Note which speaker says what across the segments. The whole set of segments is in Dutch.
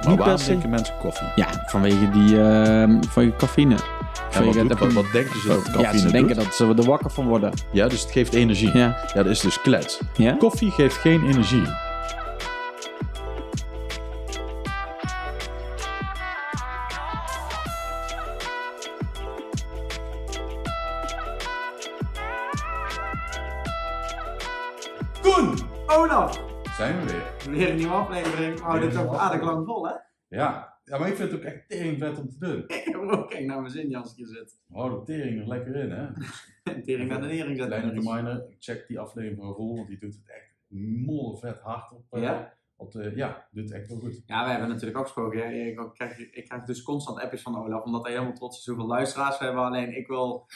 Speaker 1: Maar
Speaker 2: Niet
Speaker 1: waarom
Speaker 2: per se.
Speaker 1: drinken mensen koffie?
Speaker 2: Ja, vanwege die eh, vanwege cafeïne.
Speaker 1: Ja, wat,
Speaker 2: Vanwege
Speaker 1: doet,
Speaker 2: dat-
Speaker 1: wat, wat denken ze dat
Speaker 2: ja,
Speaker 1: cafeïne
Speaker 2: ze
Speaker 1: doet?
Speaker 2: denken dat ze er wakker van worden.
Speaker 1: Ja, dus het geeft energie.
Speaker 2: Ja.
Speaker 1: dat is dus klets.
Speaker 2: Ja?
Speaker 1: Koffie geeft geen energie.
Speaker 3: Koen, Olaf,
Speaker 4: Zijn we weer.
Speaker 3: weer een nieuwe aflevering. Oh, dit is ook aardig lang vol, hè?
Speaker 4: Ja. ja, maar ik vind het ook echt tering vet om te doen.
Speaker 3: Ik heb ook kijk naar mijn zin, Jansje zit.
Speaker 4: Hou de tering er lekker in, hè.
Speaker 3: En tering naar de nering
Speaker 4: Kleine
Speaker 3: zetten.
Speaker 4: reminder, check die aflevering van Roel, want die doet het echt mol vet hard op. eh,
Speaker 3: Ja?
Speaker 4: Op de, ja, doet echt wel goed.
Speaker 3: Ja, wij hebben natuurlijk afgesproken. hè. Ik krijg, ik krijg dus constant appjes van Olaf, omdat hij helemaal trots is hoeveel luisteraars we hebben. Alleen ik wil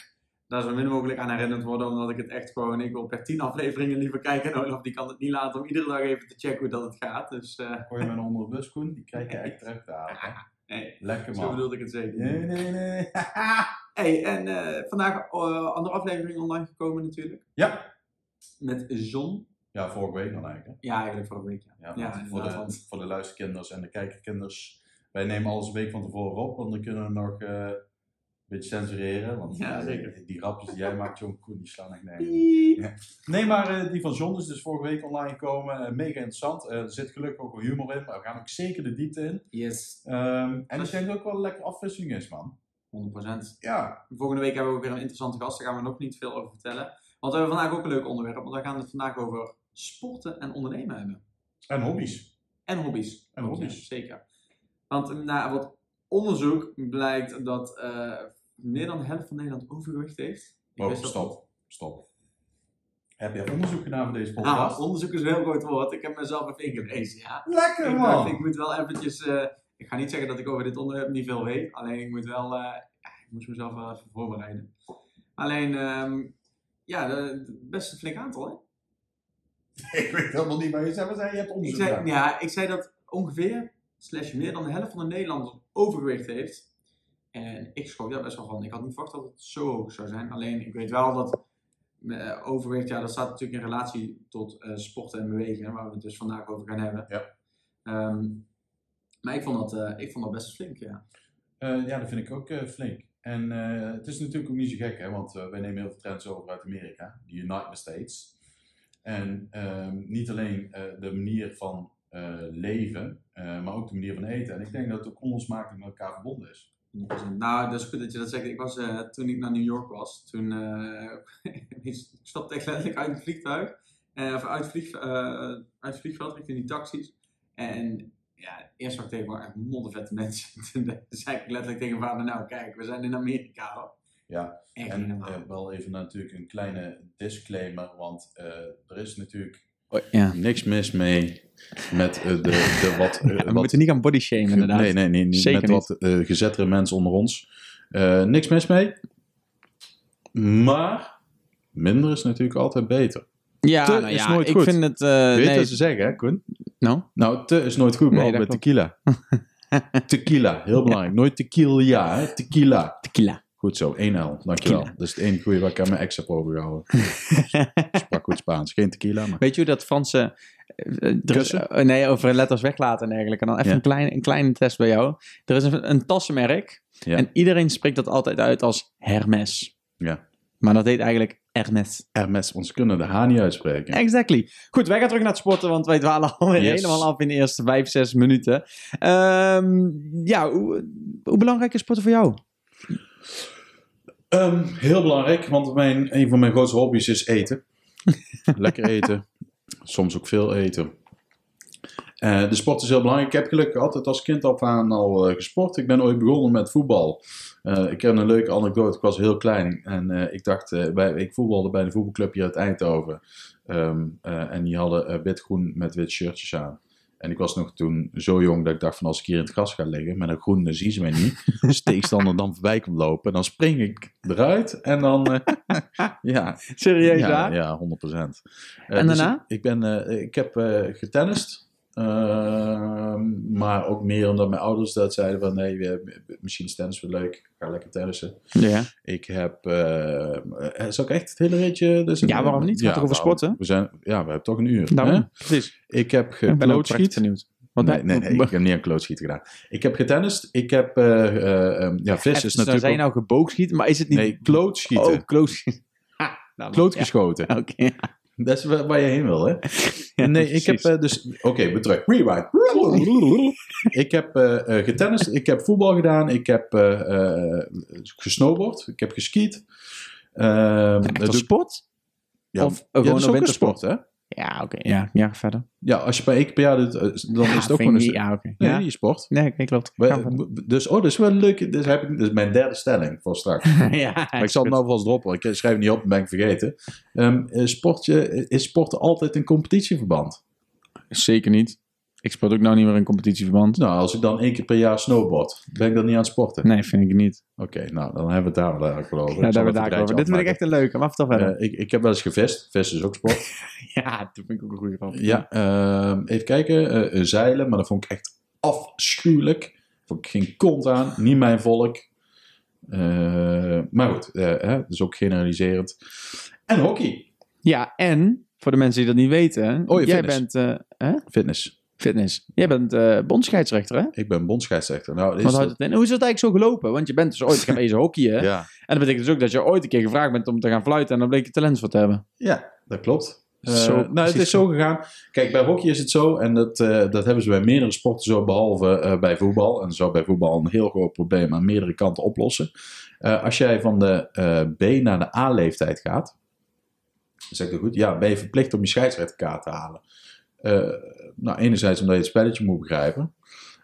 Speaker 3: daar zo min mogelijk aan herinnerd worden, omdat ik het echt gewoon... Ik wil per tien afleveringen liever kijken. En Olaf die kan het niet laten om iedere dag even te checken hoe dat het gaat. Dus eh,
Speaker 4: Gooi hem in onder de bus, Koen, die krijg je echt terug te halen. hè.
Speaker 3: nee,
Speaker 4: Lekker
Speaker 3: zo
Speaker 4: man.
Speaker 3: bedoelde ik het zeker niet.
Speaker 4: Nee, nee, nee.
Speaker 3: Hey, en eh, vandaag eh, andere aflevering online gekomen natuurlijk.
Speaker 4: Ja.
Speaker 3: Met John.
Speaker 4: Ja, vorige week dan eigenlijk. hè.
Speaker 3: Ja, eigenlijk vorige week. Ja.
Speaker 4: Ja,
Speaker 3: Ja,
Speaker 4: want voor,
Speaker 3: inderdaad,
Speaker 4: de,
Speaker 3: want-
Speaker 4: voor de luisterkinders en de kijkerkinders. Wij nemen alles een week van tevoren op, want dan kunnen we nog eh, een beetje censureren. Want
Speaker 3: Ja,
Speaker 4: eh,
Speaker 3: zeker.
Speaker 4: die rapjes die jij maakt, John Koen, die slaan echt nergens.
Speaker 3: Piep.
Speaker 4: Nee, maar eh, die van John is dus vorige week online gekomen. Eh, mega interessant. Eh, er zit gelukkig ook wel humor in, maar we gaan ook zeker de diepte in.
Speaker 3: Yes, 100%.
Speaker 4: Ehm, en ik denk dat het ook wel een lekkere afwisseling is, man. Ja,
Speaker 3: Volgende week hebben we ook weer een interessante gast. Daar gaan we nog niet veel over vertellen. Want we hebben vandaag ook een leuk onderwerp. Want we gaan het vandaag over sporten en ondernemen hebben.
Speaker 4: en hobby's.
Speaker 3: En hobby's.
Speaker 4: En
Speaker 3: Ook,
Speaker 4: hobby's.
Speaker 3: ja, zeker. Want eh, na wat onderzoek blijkt dat eh, meer dan de helft van Nederland overgewicht heeft. Ik
Speaker 4: Oh,
Speaker 3: wist dat niet.
Speaker 4: stop. Stop. Heb je onderzoek gedaan voor deze podcast?
Speaker 3: Nou, onderzoek is een heel groot woord. Ik heb mezelf even ingelezen, ja.
Speaker 4: lekker,
Speaker 3: Ik dacht,
Speaker 4: man!
Speaker 3: ik moet wel eventjes... eh, ik ga niet zeggen dat ik over dit onderwerp niet veel weet. Alleen ik moet wel... eh, ja, ik moest mezelf wel even voorbereiden. Alleen, ehm, ja, de- de- best een flink aantal, hè?
Speaker 4: Ik weet helemaal niet waar je zei, maar zei je hebt
Speaker 3: Ik
Speaker 4: onderzoek
Speaker 3: zei,
Speaker 4: gedaan.
Speaker 3: ja, ik zei dat ongeveer, slash meer dan de helft van de Nederlanders overgewicht heeft. En ik schrok daar best wel van. Ik had niet verwacht dat het zo hoog zou zijn. Alleen, ik weet wel dat eh, overgewicht, ja, dat staat natuurlijk in relatie tot eh, sporten en bewegen, hè, waar we het dus vandaag over gaan hebben.
Speaker 4: Ja.
Speaker 3: Ehm, maar ik vond, dat, eh, ik vond dat best flink, ja.
Speaker 4: Eh, ja, dat vind ik ook eh, flink. En eh, het is natuurlijk ook niet zo gek, hè, want eh, wij nemen heel veel trends over uit Amerika, de United States. En ehm, niet alleen eh, de manier van eh, leven, eh, maar ook de manier van eten. En ik denk dat het ook onlosmakelijk met elkaar verbonden is.
Speaker 3: 100%. Nou, dat is goed dat je dat zegt. Ik was, eh, toen ik naar New York was, toen eh, ik stapte echt letterlijk uit het vliegtuig. eh, of uit, het vlieg, eh, uit het vliegveld richting die taxis. En ja, eerst zag ik tegen waren echt moddervette mensen. toen zei ik letterlijk tegen mijn vader, nou kijk, we zijn in Amerika hoor.
Speaker 4: Ja,
Speaker 3: Echt
Speaker 4: en
Speaker 3: helemaal.
Speaker 4: eh, wel even natuurlijk een kleine disclaimer, want eh, er is natuurlijk
Speaker 2: Oh, ja.
Speaker 4: niks mis mee met eh, de, de wat, eh,
Speaker 2: We
Speaker 4: wat
Speaker 2: moeten niet gaan bodyshamen, inderdaad.
Speaker 4: Nee, nee, nee, niet
Speaker 2: Zeker
Speaker 4: met wat eh, gezettere mensen onder ons. Eh, niks mis mee. Maar minder is natuurlijk altijd beter.
Speaker 2: Ja,
Speaker 4: Te
Speaker 2: nou
Speaker 4: is
Speaker 2: ja,
Speaker 4: nooit
Speaker 2: ik
Speaker 4: goed.
Speaker 2: vind het... eh,
Speaker 4: Weet je
Speaker 2: nee,
Speaker 4: wat ze zeggen, hè, Koen?
Speaker 2: nou,
Speaker 4: Nou, te is nooit goed, behalve
Speaker 2: dat
Speaker 4: met
Speaker 2: klopt.
Speaker 4: tequila. tequila, heel belangrijk. Nooit tequila, hè? tequila.
Speaker 2: tequila.
Speaker 4: Goed zo, 1L, dankjewel. Dat is het enige goede waar ik aan mijn ex heb overgehouden. Sprak goed Spaans. Geen tequila, maar...
Speaker 2: Weet je hoe dat Franse... eh, er is-
Speaker 4: Kussen?
Speaker 2: eh, nee, over letters weglaten en dergelijke. En dan even
Speaker 4: Ja.
Speaker 2: een, klein, een kleine test bij jou. Er is een, een tassenmerk.
Speaker 4: Ja.
Speaker 2: En iedereen spreekt dat altijd uit als Hermes.
Speaker 4: Ja.
Speaker 2: Maar dat heet eigenlijk Hermes.
Speaker 4: Hermes, ons kunnen de H niet uitspreken.
Speaker 2: Exactly. Goed, wij gaan terug naar het sporten, want wij dwalen alweer
Speaker 4: Yes.
Speaker 2: helemaal af in de eerste vijf, zes minuten. Ehm, ja, hoe, hoe belangrijk is sporten voor jou?
Speaker 4: Ehm, heel belangrijk, want mijn, een van mijn grootste hobby's is eten. Lekker eten. Soms ook veel eten. Eh, de sport is heel belangrijk. Ik heb gelukkig altijd als kind af aan al eh, gesport. Ik ben ooit begonnen met voetbal. Eh, ik heb een leuke anekdote. Ik was heel klein en eh, ik dacht, eh, bij, ik voetbalde bij een voetbalclub hier uit Eindhoven. Ehm, eh, en die hadden eh, wit-groen met wit shirtjes aan. En ik was nog toen zo jong dat ik dacht van als ik hier in het gras ga liggen met een groen, dan zien ze mij niet als Dus tegenstander dan voorbij komt lopen, dan spring ik eruit en dan. eh, ja,
Speaker 2: Serieus,
Speaker 4: ja,
Speaker 2: waar?
Speaker 4: ja, 100 procent. dus
Speaker 2: En daarna?
Speaker 4: ik, ik ben, eh, ik heb eh getennist. ehm, maar ook meer omdat mijn ouders dat zeiden van nee, we- misschien is tennis wel leuk, ik ga lekker tennissen.
Speaker 2: Ja.
Speaker 4: Ik heb, eh eh, zal ik echt het hele ritje? Dus
Speaker 2: Ja, waarom niet? Het gaat toch over
Speaker 4: waarom-
Speaker 2: sporten?
Speaker 4: We zijn, ja, we hebben toch een uur.
Speaker 2: Nou,
Speaker 4: hè?
Speaker 2: precies.
Speaker 4: Ik heb
Speaker 2: Ik ben ook echt
Speaker 4: geblootskiet.
Speaker 2: benieuwd. Want
Speaker 4: nee,
Speaker 2: hij-
Speaker 4: nee, nee, ik heb niet aan klootschieten gedaan. Ik heb getennist. Ik heb, eh, eh, ehm, ja, vis
Speaker 2: Even,
Speaker 4: is
Speaker 2: nou,
Speaker 4: natuurlijk
Speaker 2: zei je
Speaker 4: ook-
Speaker 2: nou geboogschieten, maar is het niet...
Speaker 4: Nee, klootschieten.
Speaker 2: Oh, klootschieten. Ah, nou,
Speaker 4: Klootgeschoten.
Speaker 2: ja, Oké. ja.
Speaker 4: Dat is waar, waar je heen wil, hè?
Speaker 2: Ja,
Speaker 4: nee, ik heb
Speaker 2: precies.
Speaker 4: eh, dus... Oké, weer terug. Rewind. ik heb eh eh, getennist, ik heb voetbal gedaan, ik heb eh eh, gesnowboard, ik heb geskiet. Ehm, dat
Speaker 2: Echt
Speaker 4: doe
Speaker 2: een
Speaker 4: ik-
Speaker 2: sport?
Speaker 4: Ja,
Speaker 2: of oh,
Speaker 4: ja, dat
Speaker 2: gewoon
Speaker 4: is
Speaker 2: een
Speaker 4: ook een
Speaker 2: wintersport?
Speaker 4: sport, hè?
Speaker 2: Ja, oké. Ja, ja, verder.
Speaker 4: Ja, als je bij één keer per jaar doet, eh, dan
Speaker 2: Ja,
Speaker 4: is het ook
Speaker 2: vind
Speaker 4: gewoon een...
Speaker 2: ik
Speaker 4: stu-
Speaker 2: niet- Ja, oké.
Speaker 4: Nee,
Speaker 2: Ja.
Speaker 4: niet sport.
Speaker 2: Nee, oké, klopt.
Speaker 4: Maar,
Speaker 2: Ga verder.
Speaker 4: eh, dus, oh, dat is wel leuk. Dus heb ik, dus mijn derde stelling voor straks.
Speaker 2: ja,
Speaker 4: Maar ik zal het nou vast droppen. Ik schrijf het niet op, dan ben ik vergeten. Ehm, eh, sportje, is sporten altijd een competitieverband?
Speaker 2: Zeker niet. Ik sport ook nou niet meer in competitieverband.
Speaker 4: Nou, als ik dan één keer per jaar snowboard, ben ik dan niet aan het sporten?
Speaker 2: Nee, vind ik niet.
Speaker 4: Oké, nou, dan hebben we het daar wel eigenlijk over.
Speaker 2: Ja, daar
Speaker 4: zal het
Speaker 2: hebben we
Speaker 4: een
Speaker 2: daar over.
Speaker 4: rijtje
Speaker 2: Dit vind ik
Speaker 4: afmaken.
Speaker 2: echt een leuke, maar vertel verder.
Speaker 4: Eh, ik, ik heb wel eens gevest. Vest is ook sport.
Speaker 2: ja, dat vind ik ook een goede grap.
Speaker 4: ja, ehm, even kijken. Eh, eh, zeilen, maar dat vond ik echt afschuwelijk. Vond ik geen kont aan. Niet mijn volk. Eh, maar goed, eh, hè, dus ook generaliserend. En hockey.
Speaker 2: Ja, en voor de mensen die dat niet weten,
Speaker 4: Oh, je
Speaker 2: jij
Speaker 4: fitness.
Speaker 2: bent eh,
Speaker 4: Fitness.
Speaker 2: fitness. Jij bent eh bondscheidsrechter, hè?
Speaker 4: Ik ben bondscheidsrechter. Nou, is
Speaker 2: Wat
Speaker 4: dat-
Speaker 2: houdt het in? Hoe is dat eigenlijk zo gelopen? Want je bent dus ooit gaan eens hockeyen.
Speaker 4: ja.
Speaker 2: En dat betekent dus ook dat je ooit een keer gevraagd bent om te gaan fluiten en dan bleek je talent voor te hebben.
Speaker 4: ja, dat klopt. Eh,
Speaker 2: Zo,
Speaker 4: nou, het
Speaker 2: precies.
Speaker 4: is zo gegaan. Kijk, bij hockey is het zo, en dat, eh, dat hebben ze bij meerdere sporten zo, behalve eh, bij voetbal. En dat zou bij voetbal een heel groot probleem aan meerdere kanten oplossen. Eh, als jij van de eh, B naar de A-leeftijd gaat, zeg ik dat goed? Ja, ben je verplicht om je scheidsrechterkaart te halen. Eh, nou, enerzijds omdat je het spelletje moet begrijpen.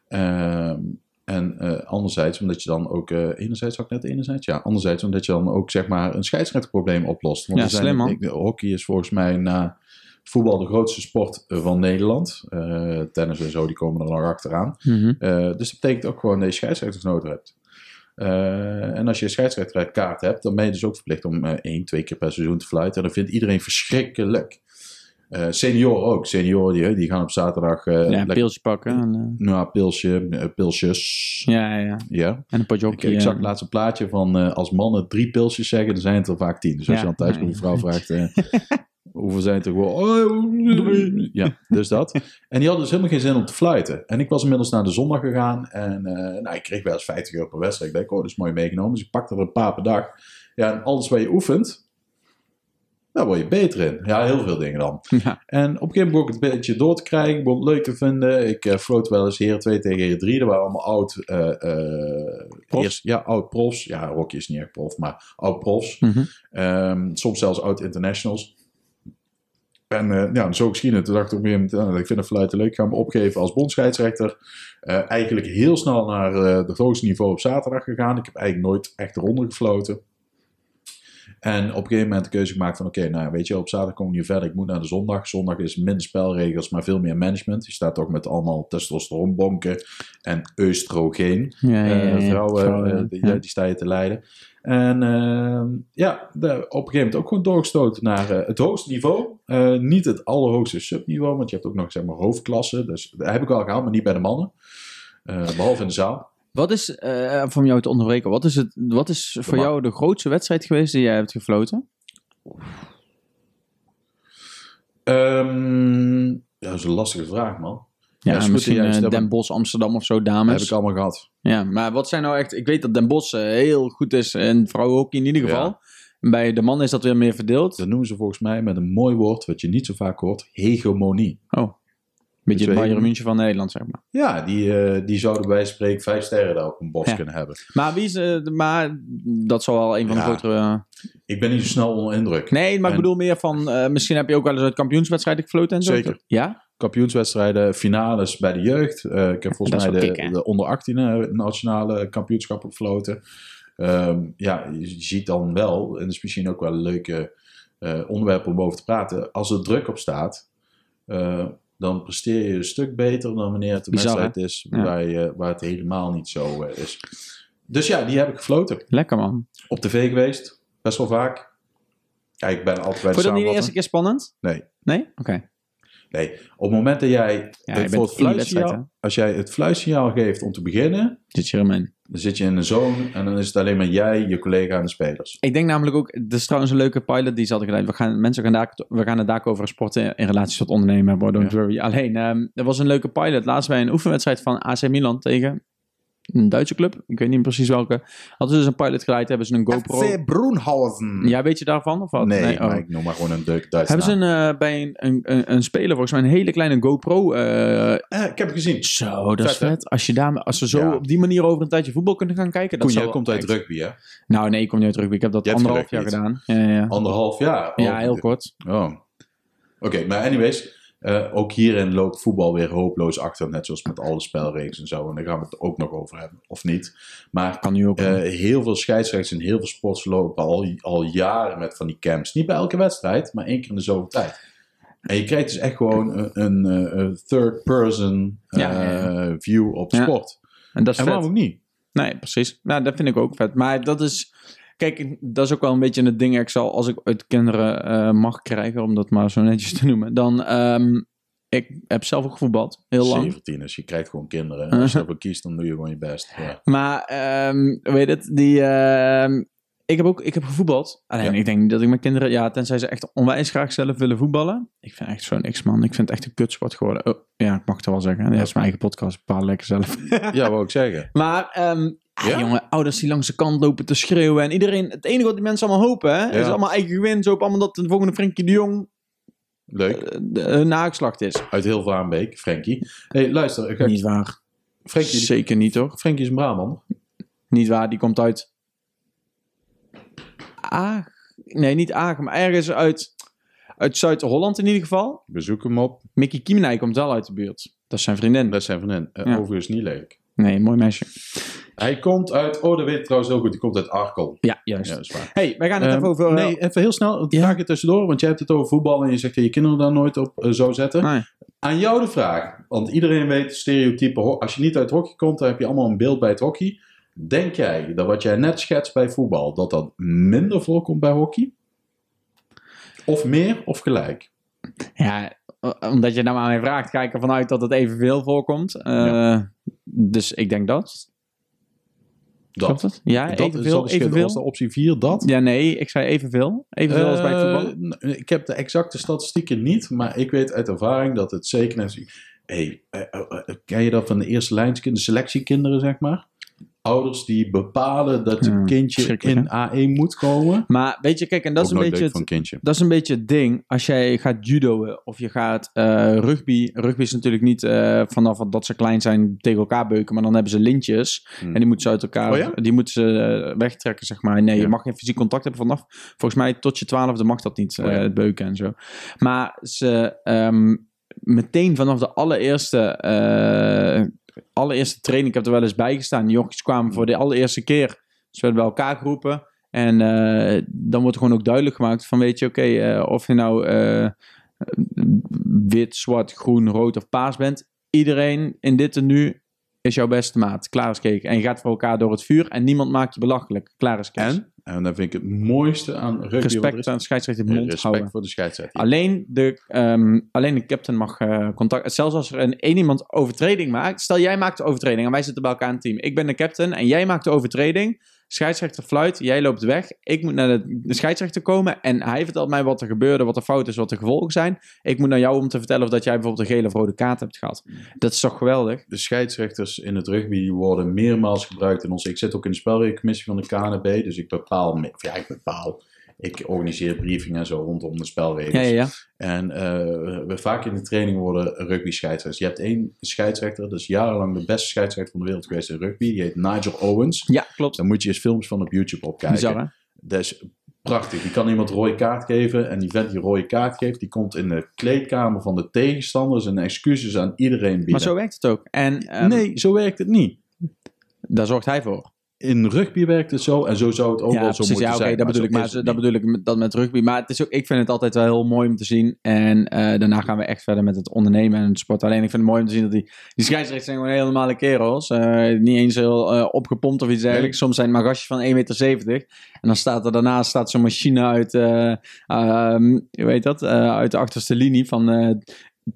Speaker 4: Ehm, en eh, anderzijds omdat je dan ook, eh, enerzijds ook net enerzijds, ja, anderzijds omdat je dan ook zeg maar een scheidsrechterprobleem oplost. Want
Speaker 2: Ja,
Speaker 4: er zijn-
Speaker 2: slim, man.
Speaker 4: ik- hockey is volgens mij na voetbal de grootste sport eh, van Nederland. Eh, tennis en zo, die komen er nog achteraan. Eh, dus dat betekent ook gewoon dat je scheidsrechters nodig hebt. Eh, en als je een scheidsrechterkaart hebt, dan ben je dus ook verplicht om eh, één, twee keer per seizoen te fluiten. En dat vindt iedereen verschrikkelijk. Eh senioren ook. Senioren die, die gaan op zaterdag eh
Speaker 2: ja, een
Speaker 4: lekker
Speaker 2: pilsje pakken. En, eh,
Speaker 4: nou, pilsje, eh, pilsjes. Ja.
Speaker 2: ja, eh, ja, ja. En een potje
Speaker 4: Ik,
Speaker 2: hockey.
Speaker 4: ik zag
Speaker 2: en-
Speaker 4: laatst een plaatje van eh, als mannen drie pilsjes zeggen, dan zijn het er vaak tien. Dus als
Speaker 2: Ja.
Speaker 4: je dan thuis bij een vrouw vraagt, eh, hoeveel zijn het er gewoon? Oh, Ja, dus dat. En die hadden dus helemaal geen zin om te fluiten. En ik was inmiddels naar de zondag gegaan en eh, nou, ik kreeg wel eens 50 euro per wedstrijd. Ik dacht, oh, dat is mooi meegenomen. Dus ik pakte er een paar per dag. Ja, en alles waar je oefent, daar word je beter in. Ja, heel veel dingen dan.
Speaker 2: Ja.
Speaker 4: En op een gegeven moment begon ik het een beetje door te krijgen. Ik begon het leuk te vinden. Ik eh floot wel eens heren 2 tegen heren 3. Dat waren allemaal oud... eh, eh,
Speaker 2: Profs?
Speaker 4: eerst- ja, oud profs. Ja, Rocky is niet echt prof, maar oud profs.
Speaker 2: Mhm.
Speaker 4: Ehm, soms zelfs oud internationals. En eh, ja, zo geschieden. Toen dacht ik op een gegeven moment, eh, ik vind het fluiten leuk. Ik ga me opgeven als bondscheidsrechter. Eh, eigenlijk heel snel naar eh het hoogste niveau op zaterdag gegaan. Ik heb eigenlijk nooit echt eronder gefloten. En op een gegeven moment de keuze gemaakt van... oké, nou weet je, op zaterdag kom ik niet verder. Ik moet naar de zondag. Zondag is minder spelregels, maar veel meer management. Je staat ook met allemaal testosteronbonken en oestrogeen.
Speaker 2: Ja, ja,
Speaker 4: Eh,
Speaker 2: ja, ja.
Speaker 4: vrouwen,
Speaker 2: Vrouwen,
Speaker 4: eh, die,
Speaker 2: ja.
Speaker 4: die sta je te leiden. En ehm, ja, de- op een gegeven moment ook gewoon doorgestoten naar eh, het hoogste niveau. Eh, niet het allerhoogste subniveau, want je hebt ook nog zeg maar hoofdklassen. Dus dat heb ik al gehaald, maar niet bij de mannen. Eh, behalve in de zaal.
Speaker 2: Wat is, eh van jou te onderbreken, wat is, het, wat is voor
Speaker 4: mag.
Speaker 2: jou de grootste wedstrijd geweest die jij hebt gefloten?
Speaker 4: Ehm, ja, dat is een lastige vraag, man.
Speaker 2: Ja,
Speaker 4: is goed,
Speaker 2: misschien
Speaker 4: ja,
Speaker 2: eh,
Speaker 4: is dat-
Speaker 2: Den Bosch, Amsterdam of zo,
Speaker 4: Dat heb
Speaker 2: dames.
Speaker 4: ik allemaal gehad.
Speaker 2: Ja, maar wat zijn nou echt... Ik weet dat Den Bosch eh, heel goed is en vrouwenhockey in ieder
Speaker 4: Ja.
Speaker 2: geval. Bij de mannen is dat weer meer verdeeld.
Speaker 4: Dat noemen ze volgens mij met een mooi woord, wat je niet zo vaak hoort, hegemonie.
Speaker 2: Oh, beetje het
Speaker 4: Twee.
Speaker 2: Bayern München van Nederland, zeg maar.
Speaker 4: Ja, die, eh, die zouden bij wijze van spreken vijf sterren daar op een bos
Speaker 2: Ja.
Speaker 4: kunnen hebben.
Speaker 2: Maar wie is... eh, maar dat zal wel een van de
Speaker 4: Ja.
Speaker 2: grotere...
Speaker 4: Ik ben niet zo snel onder indruk.
Speaker 2: nee, maar ik
Speaker 4: En-
Speaker 2: bedoel meer van... eh, misschien heb je ook wel eens uit kampioenswedstrijden gefloten en zo.
Speaker 4: Zeker.
Speaker 2: Ja?
Speaker 4: kampioenswedstrijden, finales bij de jeugd. Eh, ik heb volgens
Speaker 2: Dat is
Speaker 4: mij
Speaker 2: wel
Speaker 4: de,
Speaker 2: kick, hè?
Speaker 4: de onder 18 nationale kampioenschap gefloten. Ehm, ja, je ziet dan wel, en dat is misschien ook wel een leuke eh, onderwerp om over te praten. Als er druk op staat, eh, dan presteer je een stuk beter dan wanneer het een
Speaker 2: Bizar,
Speaker 4: wedstrijd is
Speaker 2: Ja.
Speaker 4: waar, je, waar het helemaal niet zo eh, is. Dus ja, die heb ik gefloten.
Speaker 2: Lekker, man.
Speaker 4: Op tv geweest, best wel vaak. Ja, ik ben altijd bij de
Speaker 2: Vond je dat niet de
Speaker 4: samenvatten.
Speaker 2: eerste keer spannend?
Speaker 4: Nee.
Speaker 2: Nee? Oké.
Speaker 4: Nee, op het moment dat jij
Speaker 2: Ja,
Speaker 4: het
Speaker 2: je
Speaker 4: voor
Speaker 2: bent
Speaker 4: het
Speaker 2: in die wedstrijd,
Speaker 4: fluitsignaal, als jij het fluitsignaal geeft om te beginnen,
Speaker 2: Zit je ermee?
Speaker 4: Dan zit je in een zone en dan is het alleen maar jij, je collega en de spelers.
Speaker 2: Ik denk namelijk ook, dat is trouwens een leuke pilot die ze hadden gedaan. We gaan, mensen gaan daar, we gaan het daar ook over sporten in, in relatie tot ondernemen hebben, hoor, don't worry. Alleen, ehm er was een leuke pilot. Laatst bij een oefenwedstrijd van AC Milan tegen een Duitse club. Ik weet niet precies welke. Hadden ze dus een pilot geleid, hebben ze een GoPro.
Speaker 4: Broenhausen.
Speaker 2: Ja, weet je daarvan? Of wat?
Speaker 4: nee,
Speaker 2: oh.
Speaker 4: maar ik noem maar gewoon een Duits Duits
Speaker 2: Hebben ze
Speaker 4: naam.
Speaker 2: een, eh, bij een, een, een, een speler volgens mij een hele kleine GoPro eh,
Speaker 4: Eh, ik heb het gezien.
Speaker 2: Zo, dat is
Speaker 4: Vet, hè?
Speaker 2: vet. Als, je daar, als we zo
Speaker 4: Ja.
Speaker 2: op die manier over een tijdje voetbal kunnen gaan kijken. Dat
Speaker 4: Koen, jij
Speaker 2: zou-
Speaker 4: komt uit rugby, hè?
Speaker 2: Nou, nee, ik kom niet uit rugby. Ik heb dat
Speaker 4: Je hebt
Speaker 2: anderhalf jaar
Speaker 4: geluk
Speaker 2: gedaan. Ja, ja, ja.
Speaker 4: Anderhalf jaar. Oh,
Speaker 2: ja, heel kort.
Speaker 4: Oh. Oké, maar anyways. eh, ook hierin loopt voetbal weer hopeloos achter. Net zoals met alle spelregels en zo. En daar gaan we het ook nog over hebben. Of niet. Maar
Speaker 2: Kan nu ook.
Speaker 4: eh, heel veel scheidsrechts en heel veel sports lopen al, al jaren met van die camps. Niet bij elke wedstrijd, maar één keer in de zoveel tijd. En je krijgt dus echt gewoon een, een, eh, een third person eh,
Speaker 2: Ja, ja,
Speaker 4: view op de
Speaker 2: Ja,
Speaker 4: sport.
Speaker 2: en dat is
Speaker 4: En
Speaker 2: vet.
Speaker 4: waarom ook niet?
Speaker 2: Nee, precies. Nou, dat vind ik ook vet. Maar dat is... Kijk, dat is ook wel een beetje het ding. Ik zal, als ik uit kinderen eh, mag krijgen, om dat maar zo netjes te noemen, dan... ehm, ik heb zelf ook voetbald, heel lang. Uh-huh.
Speaker 4: 17 is, je krijgt gewoon kinderen. En als je ervoor kiest, dan doe je gewoon je best. Ja.
Speaker 2: Maar ehm, hoe weet het, die, ehm, ik heb ook ik heb gevoetbald. Alleen
Speaker 4: Ja.
Speaker 2: ik denk niet dat ik mijn kinderen, ja, tenzij ze echt onwijs graag zelf willen voetballen. Ik vind echt zo niks, man. Ik vind het echt een kutsport geworden. Oh, ja, ik mag het wel zeggen. Dat is mijn eigen podcast. Bepaal lekker zelf.
Speaker 4: ja, wou ik zeggen.
Speaker 2: Maar, ehm ah,
Speaker 4: Ja?
Speaker 2: jongen, ouders die langs de kant lopen te schreeuwen. En iedereen, het enige wat die mensen allemaal hopen, hè, is
Speaker 4: Ja.
Speaker 2: allemaal eigen gewin. Zo op allemaal dat de volgende Frenkie de Jong
Speaker 4: Leuk.
Speaker 2: eh, de- een nageslacht is.
Speaker 4: uit heel Vlaambeek, Frenkie. Hé, hey, luister, ik ga-
Speaker 2: Niet waar.
Speaker 4: Frenkie,
Speaker 2: Zeker niet, hoor.
Speaker 4: Frenkie is een Brabant.
Speaker 2: Niet waar, die komt uit. Aag. Nee, niet Aag, maar ergens uit, uit Zuid-Holland in ieder geval.
Speaker 4: We zoeken hem op.
Speaker 2: Mickey Kiemenij komt wel uit de buurt. Dat is zijn vriendin.
Speaker 4: Dat zijn van hen. Eh,
Speaker 2: Hm. Ja.
Speaker 4: Overigens niet lelijk.
Speaker 2: Nee, mooi meisje.
Speaker 4: Hij komt uit, oh dat weet ik trouwens heel goed, hij komt uit Arkel.
Speaker 2: Ja,
Speaker 4: Ja,
Speaker 2: juist.
Speaker 4: dat is waar.
Speaker 2: hey, wij gaan het
Speaker 4: Ehm,
Speaker 2: even over. eh,
Speaker 4: nee, even heel snel, een
Speaker 2: Ja.
Speaker 4: vraagje tussendoor, want jij hebt het over voetbal en je zegt dat je kinderen daar nooit op eh, zou zetten.
Speaker 2: nee.
Speaker 4: Aan jou de vraag, want iedereen weet stereotypen, ho- als je niet uit hockey komt, dan heb je allemaal een beeld bij het hockey. Denk jij dat wat jij net schetst bij voetbal, dat dat minder voorkomt bij hockey? Of meer of gelijk?
Speaker 2: Ja, o- omdat je nou aan mij vraagt, ga ik ervan uit dat het evenveel voorkomt. Eh, Dus ik denk dat. Klopt dat? Ja,
Speaker 4: Dat is al
Speaker 2: evenveel.
Speaker 4: de schil-
Speaker 2: evenveel.
Speaker 4: was de optie 4 dat?
Speaker 2: Ja, nee, ik zei evenveel. Evenveel als bij het
Speaker 4: Eh,
Speaker 2: voetballen.
Speaker 4: n- ik heb de exacte statistieken niet, maar ik weet uit ervaring dat het zeker net... Hey, eh, eh, eh, ken je dat van de eerste lijnskinderen, selectiekinderen zeg maar? Ouders die bepalen dat
Speaker 2: Ja,
Speaker 4: een kindje
Speaker 2: verschrikkelijk,
Speaker 4: in A1 moet komen.
Speaker 2: Maar weet je, kijk, en dat
Speaker 4: Ook
Speaker 2: is een
Speaker 4: nooit
Speaker 2: beetje
Speaker 4: leuk
Speaker 2: het,
Speaker 4: van kindje.
Speaker 2: Dat is een beetje het ding. Als jij gaat judoën of je gaat eh, rugby. Rugby is natuurlijk niet eh, vanaf dat ze klein zijn tegen elkaar beuken. Maar dan hebben ze lintjes.
Speaker 4: Hmm.
Speaker 2: En die moeten ze uit elkaar.
Speaker 4: Oh ja?
Speaker 2: Die moeten ze eh, wegtrekken, zeg maar. Nee,
Speaker 4: Ja.
Speaker 2: je mag geen fysiek contact hebben vanaf. Volgens mij tot je twaalfde mag dat niet.
Speaker 4: Oh ja.
Speaker 2: eh, het beuken en zo. Maar ze. ehm, meteen vanaf de allereerste. eh, allereerste training. Ik heb er wel eens bij gestaan. Die jongens kwamen voor de allereerste keer. Ze werden bij elkaar geroepen. En eh, dan wordt gewoon ook duidelijk gemaakt van weet je, oké, eh, of je nou eh, wit, zwart, groen, rood of paars bent. Iedereen in dit en nu is jouw beste maat. Klaar is cake. En je gaat voor elkaar door het vuur en niemand maakt je belachelijk. Klaar is cake.
Speaker 4: En, en dan vind ik het mooiste aan rugby... wat er
Speaker 2: Respect
Speaker 4: is,
Speaker 2: aan de scheidsrechter in de mond
Speaker 4: respect
Speaker 2: houden.
Speaker 4: voor de scheidsrechter.
Speaker 2: Alleen de, ehm, alleen de captain mag eh, contact. Zelfs als er een, één iemand overtreding maakt. Stel, jij maakt de overtreding en wij zitten bij elkaar in het team. Ik ben de captain en jij maakt de overtreding. Scheidsrechter fluit, jij loopt weg. Ik moet naar de, de scheidsrechter komen en hij vertelt mij wat er gebeurde, wat er fout is, wat de gevolgen zijn. Ik moet naar jou om te vertellen of dat jij bijvoorbeeld een gele of rode kaart hebt gehad.
Speaker 4: Mm.
Speaker 2: Dat is toch geweldig?
Speaker 4: de scheidsrechters in het rugby die worden meermaals gebruikt in ons. Ik zit ook in de spelregelcommissie van de KNB, dus ik bepaal, me- of ja, ik bepaal. Ik organiseer briefingen en zo rondom de
Speaker 2: Ja,
Speaker 4: spelregels.
Speaker 2: ja, ja.
Speaker 4: En eh, we vaak in de training worden rugby scheidsrechters. Je hebt één scheidsrechter, dat is jarenlang de beste scheidsrechter van de wereld geweest in rugby. Die heet Nigel Owens.
Speaker 2: Ja, klopt.
Speaker 4: Daar moet je eens films van op YouTube opkijken.
Speaker 2: Bizar, hè?
Speaker 4: Dat is prachtig. Die kan iemand rode kaart geven. En die vent die rode kaart geeft, die komt in de kleedkamer van de tegenstanders en excuses aan iedereen bieden.
Speaker 2: Maar zo werkt het ook. En ehm,
Speaker 4: nee, zo werkt het niet.
Speaker 2: daar zorgt hij voor.
Speaker 4: in rugby werkt het zo en zo zou het ook
Speaker 2: ja,
Speaker 4: wel zo
Speaker 2: precies.
Speaker 4: moeten
Speaker 2: ja, oké,
Speaker 4: zijn.
Speaker 2: dat bedoel
Speaker 4: zo
Speaker 2: ik. Maar
Speaker 4: is
Speaker 2: ze-
Speaker 4: het
Speaker 2: dat
Speaker 4: niet.
Speaker 2: bedoel ik met, dat met rugby. Maar het is ook, ik vind het altijd wel heel mooi om te zien. En eh, daarna gaan we echt verder met het ondernemen en het sport. Alleen ik vind het mooi om te zien dat die, die scheidsrechters zijn gewoon hele normale kerels. Eh, niet eens heel eh, opgepompt of iets dergelijks. Soms zijn het maar gastjes van 1,70 meter. En dan staat er daarnaast staat zo'n machine uit, eh, ehm, hoe heet dat? Eh, uit de achterste linie van... eh,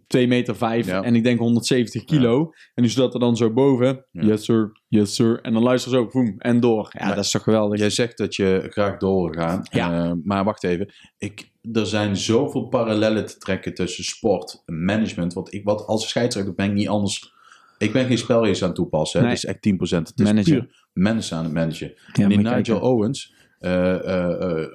Speaker 2: 2 meter 5
Speaker 4: Ja.
Speaker 2: en ik denk 170 kilo. En die zat er dan zo boven.
Speaker 4: Ja.
Speaker 2: Yes sir, yes sir. En dan luister ze ook, voem, en door. Ja,
Speaker 4: Maar-
Speaker 2: dat is toch geweldig.
Speaker 4: Jij zegt dat je graag door wil gaan.
Speaker 2: Ja.
Speaker 4: eh, maar wacht even. Ik, er zijn zoveel parallellen te trekken tussen sport en management. Want ik, wat, als scheidsrechter ben ik niet anders. Ik ben geen spelregels aan het toepassen. hè.
Speaker 2: Nee.
Speaker 4: Het is echt 10%. Het is
Speaker 2: Manager.
Speaker 4: puur mensen aan het managen.
Speaker 2: Ja,
Speaker 4: en die
Speaker 2: moet je
Speaker 4: Nigel
Speaker 2: kijken.
Speaker 4: Owens, eh, eh, eh, eh,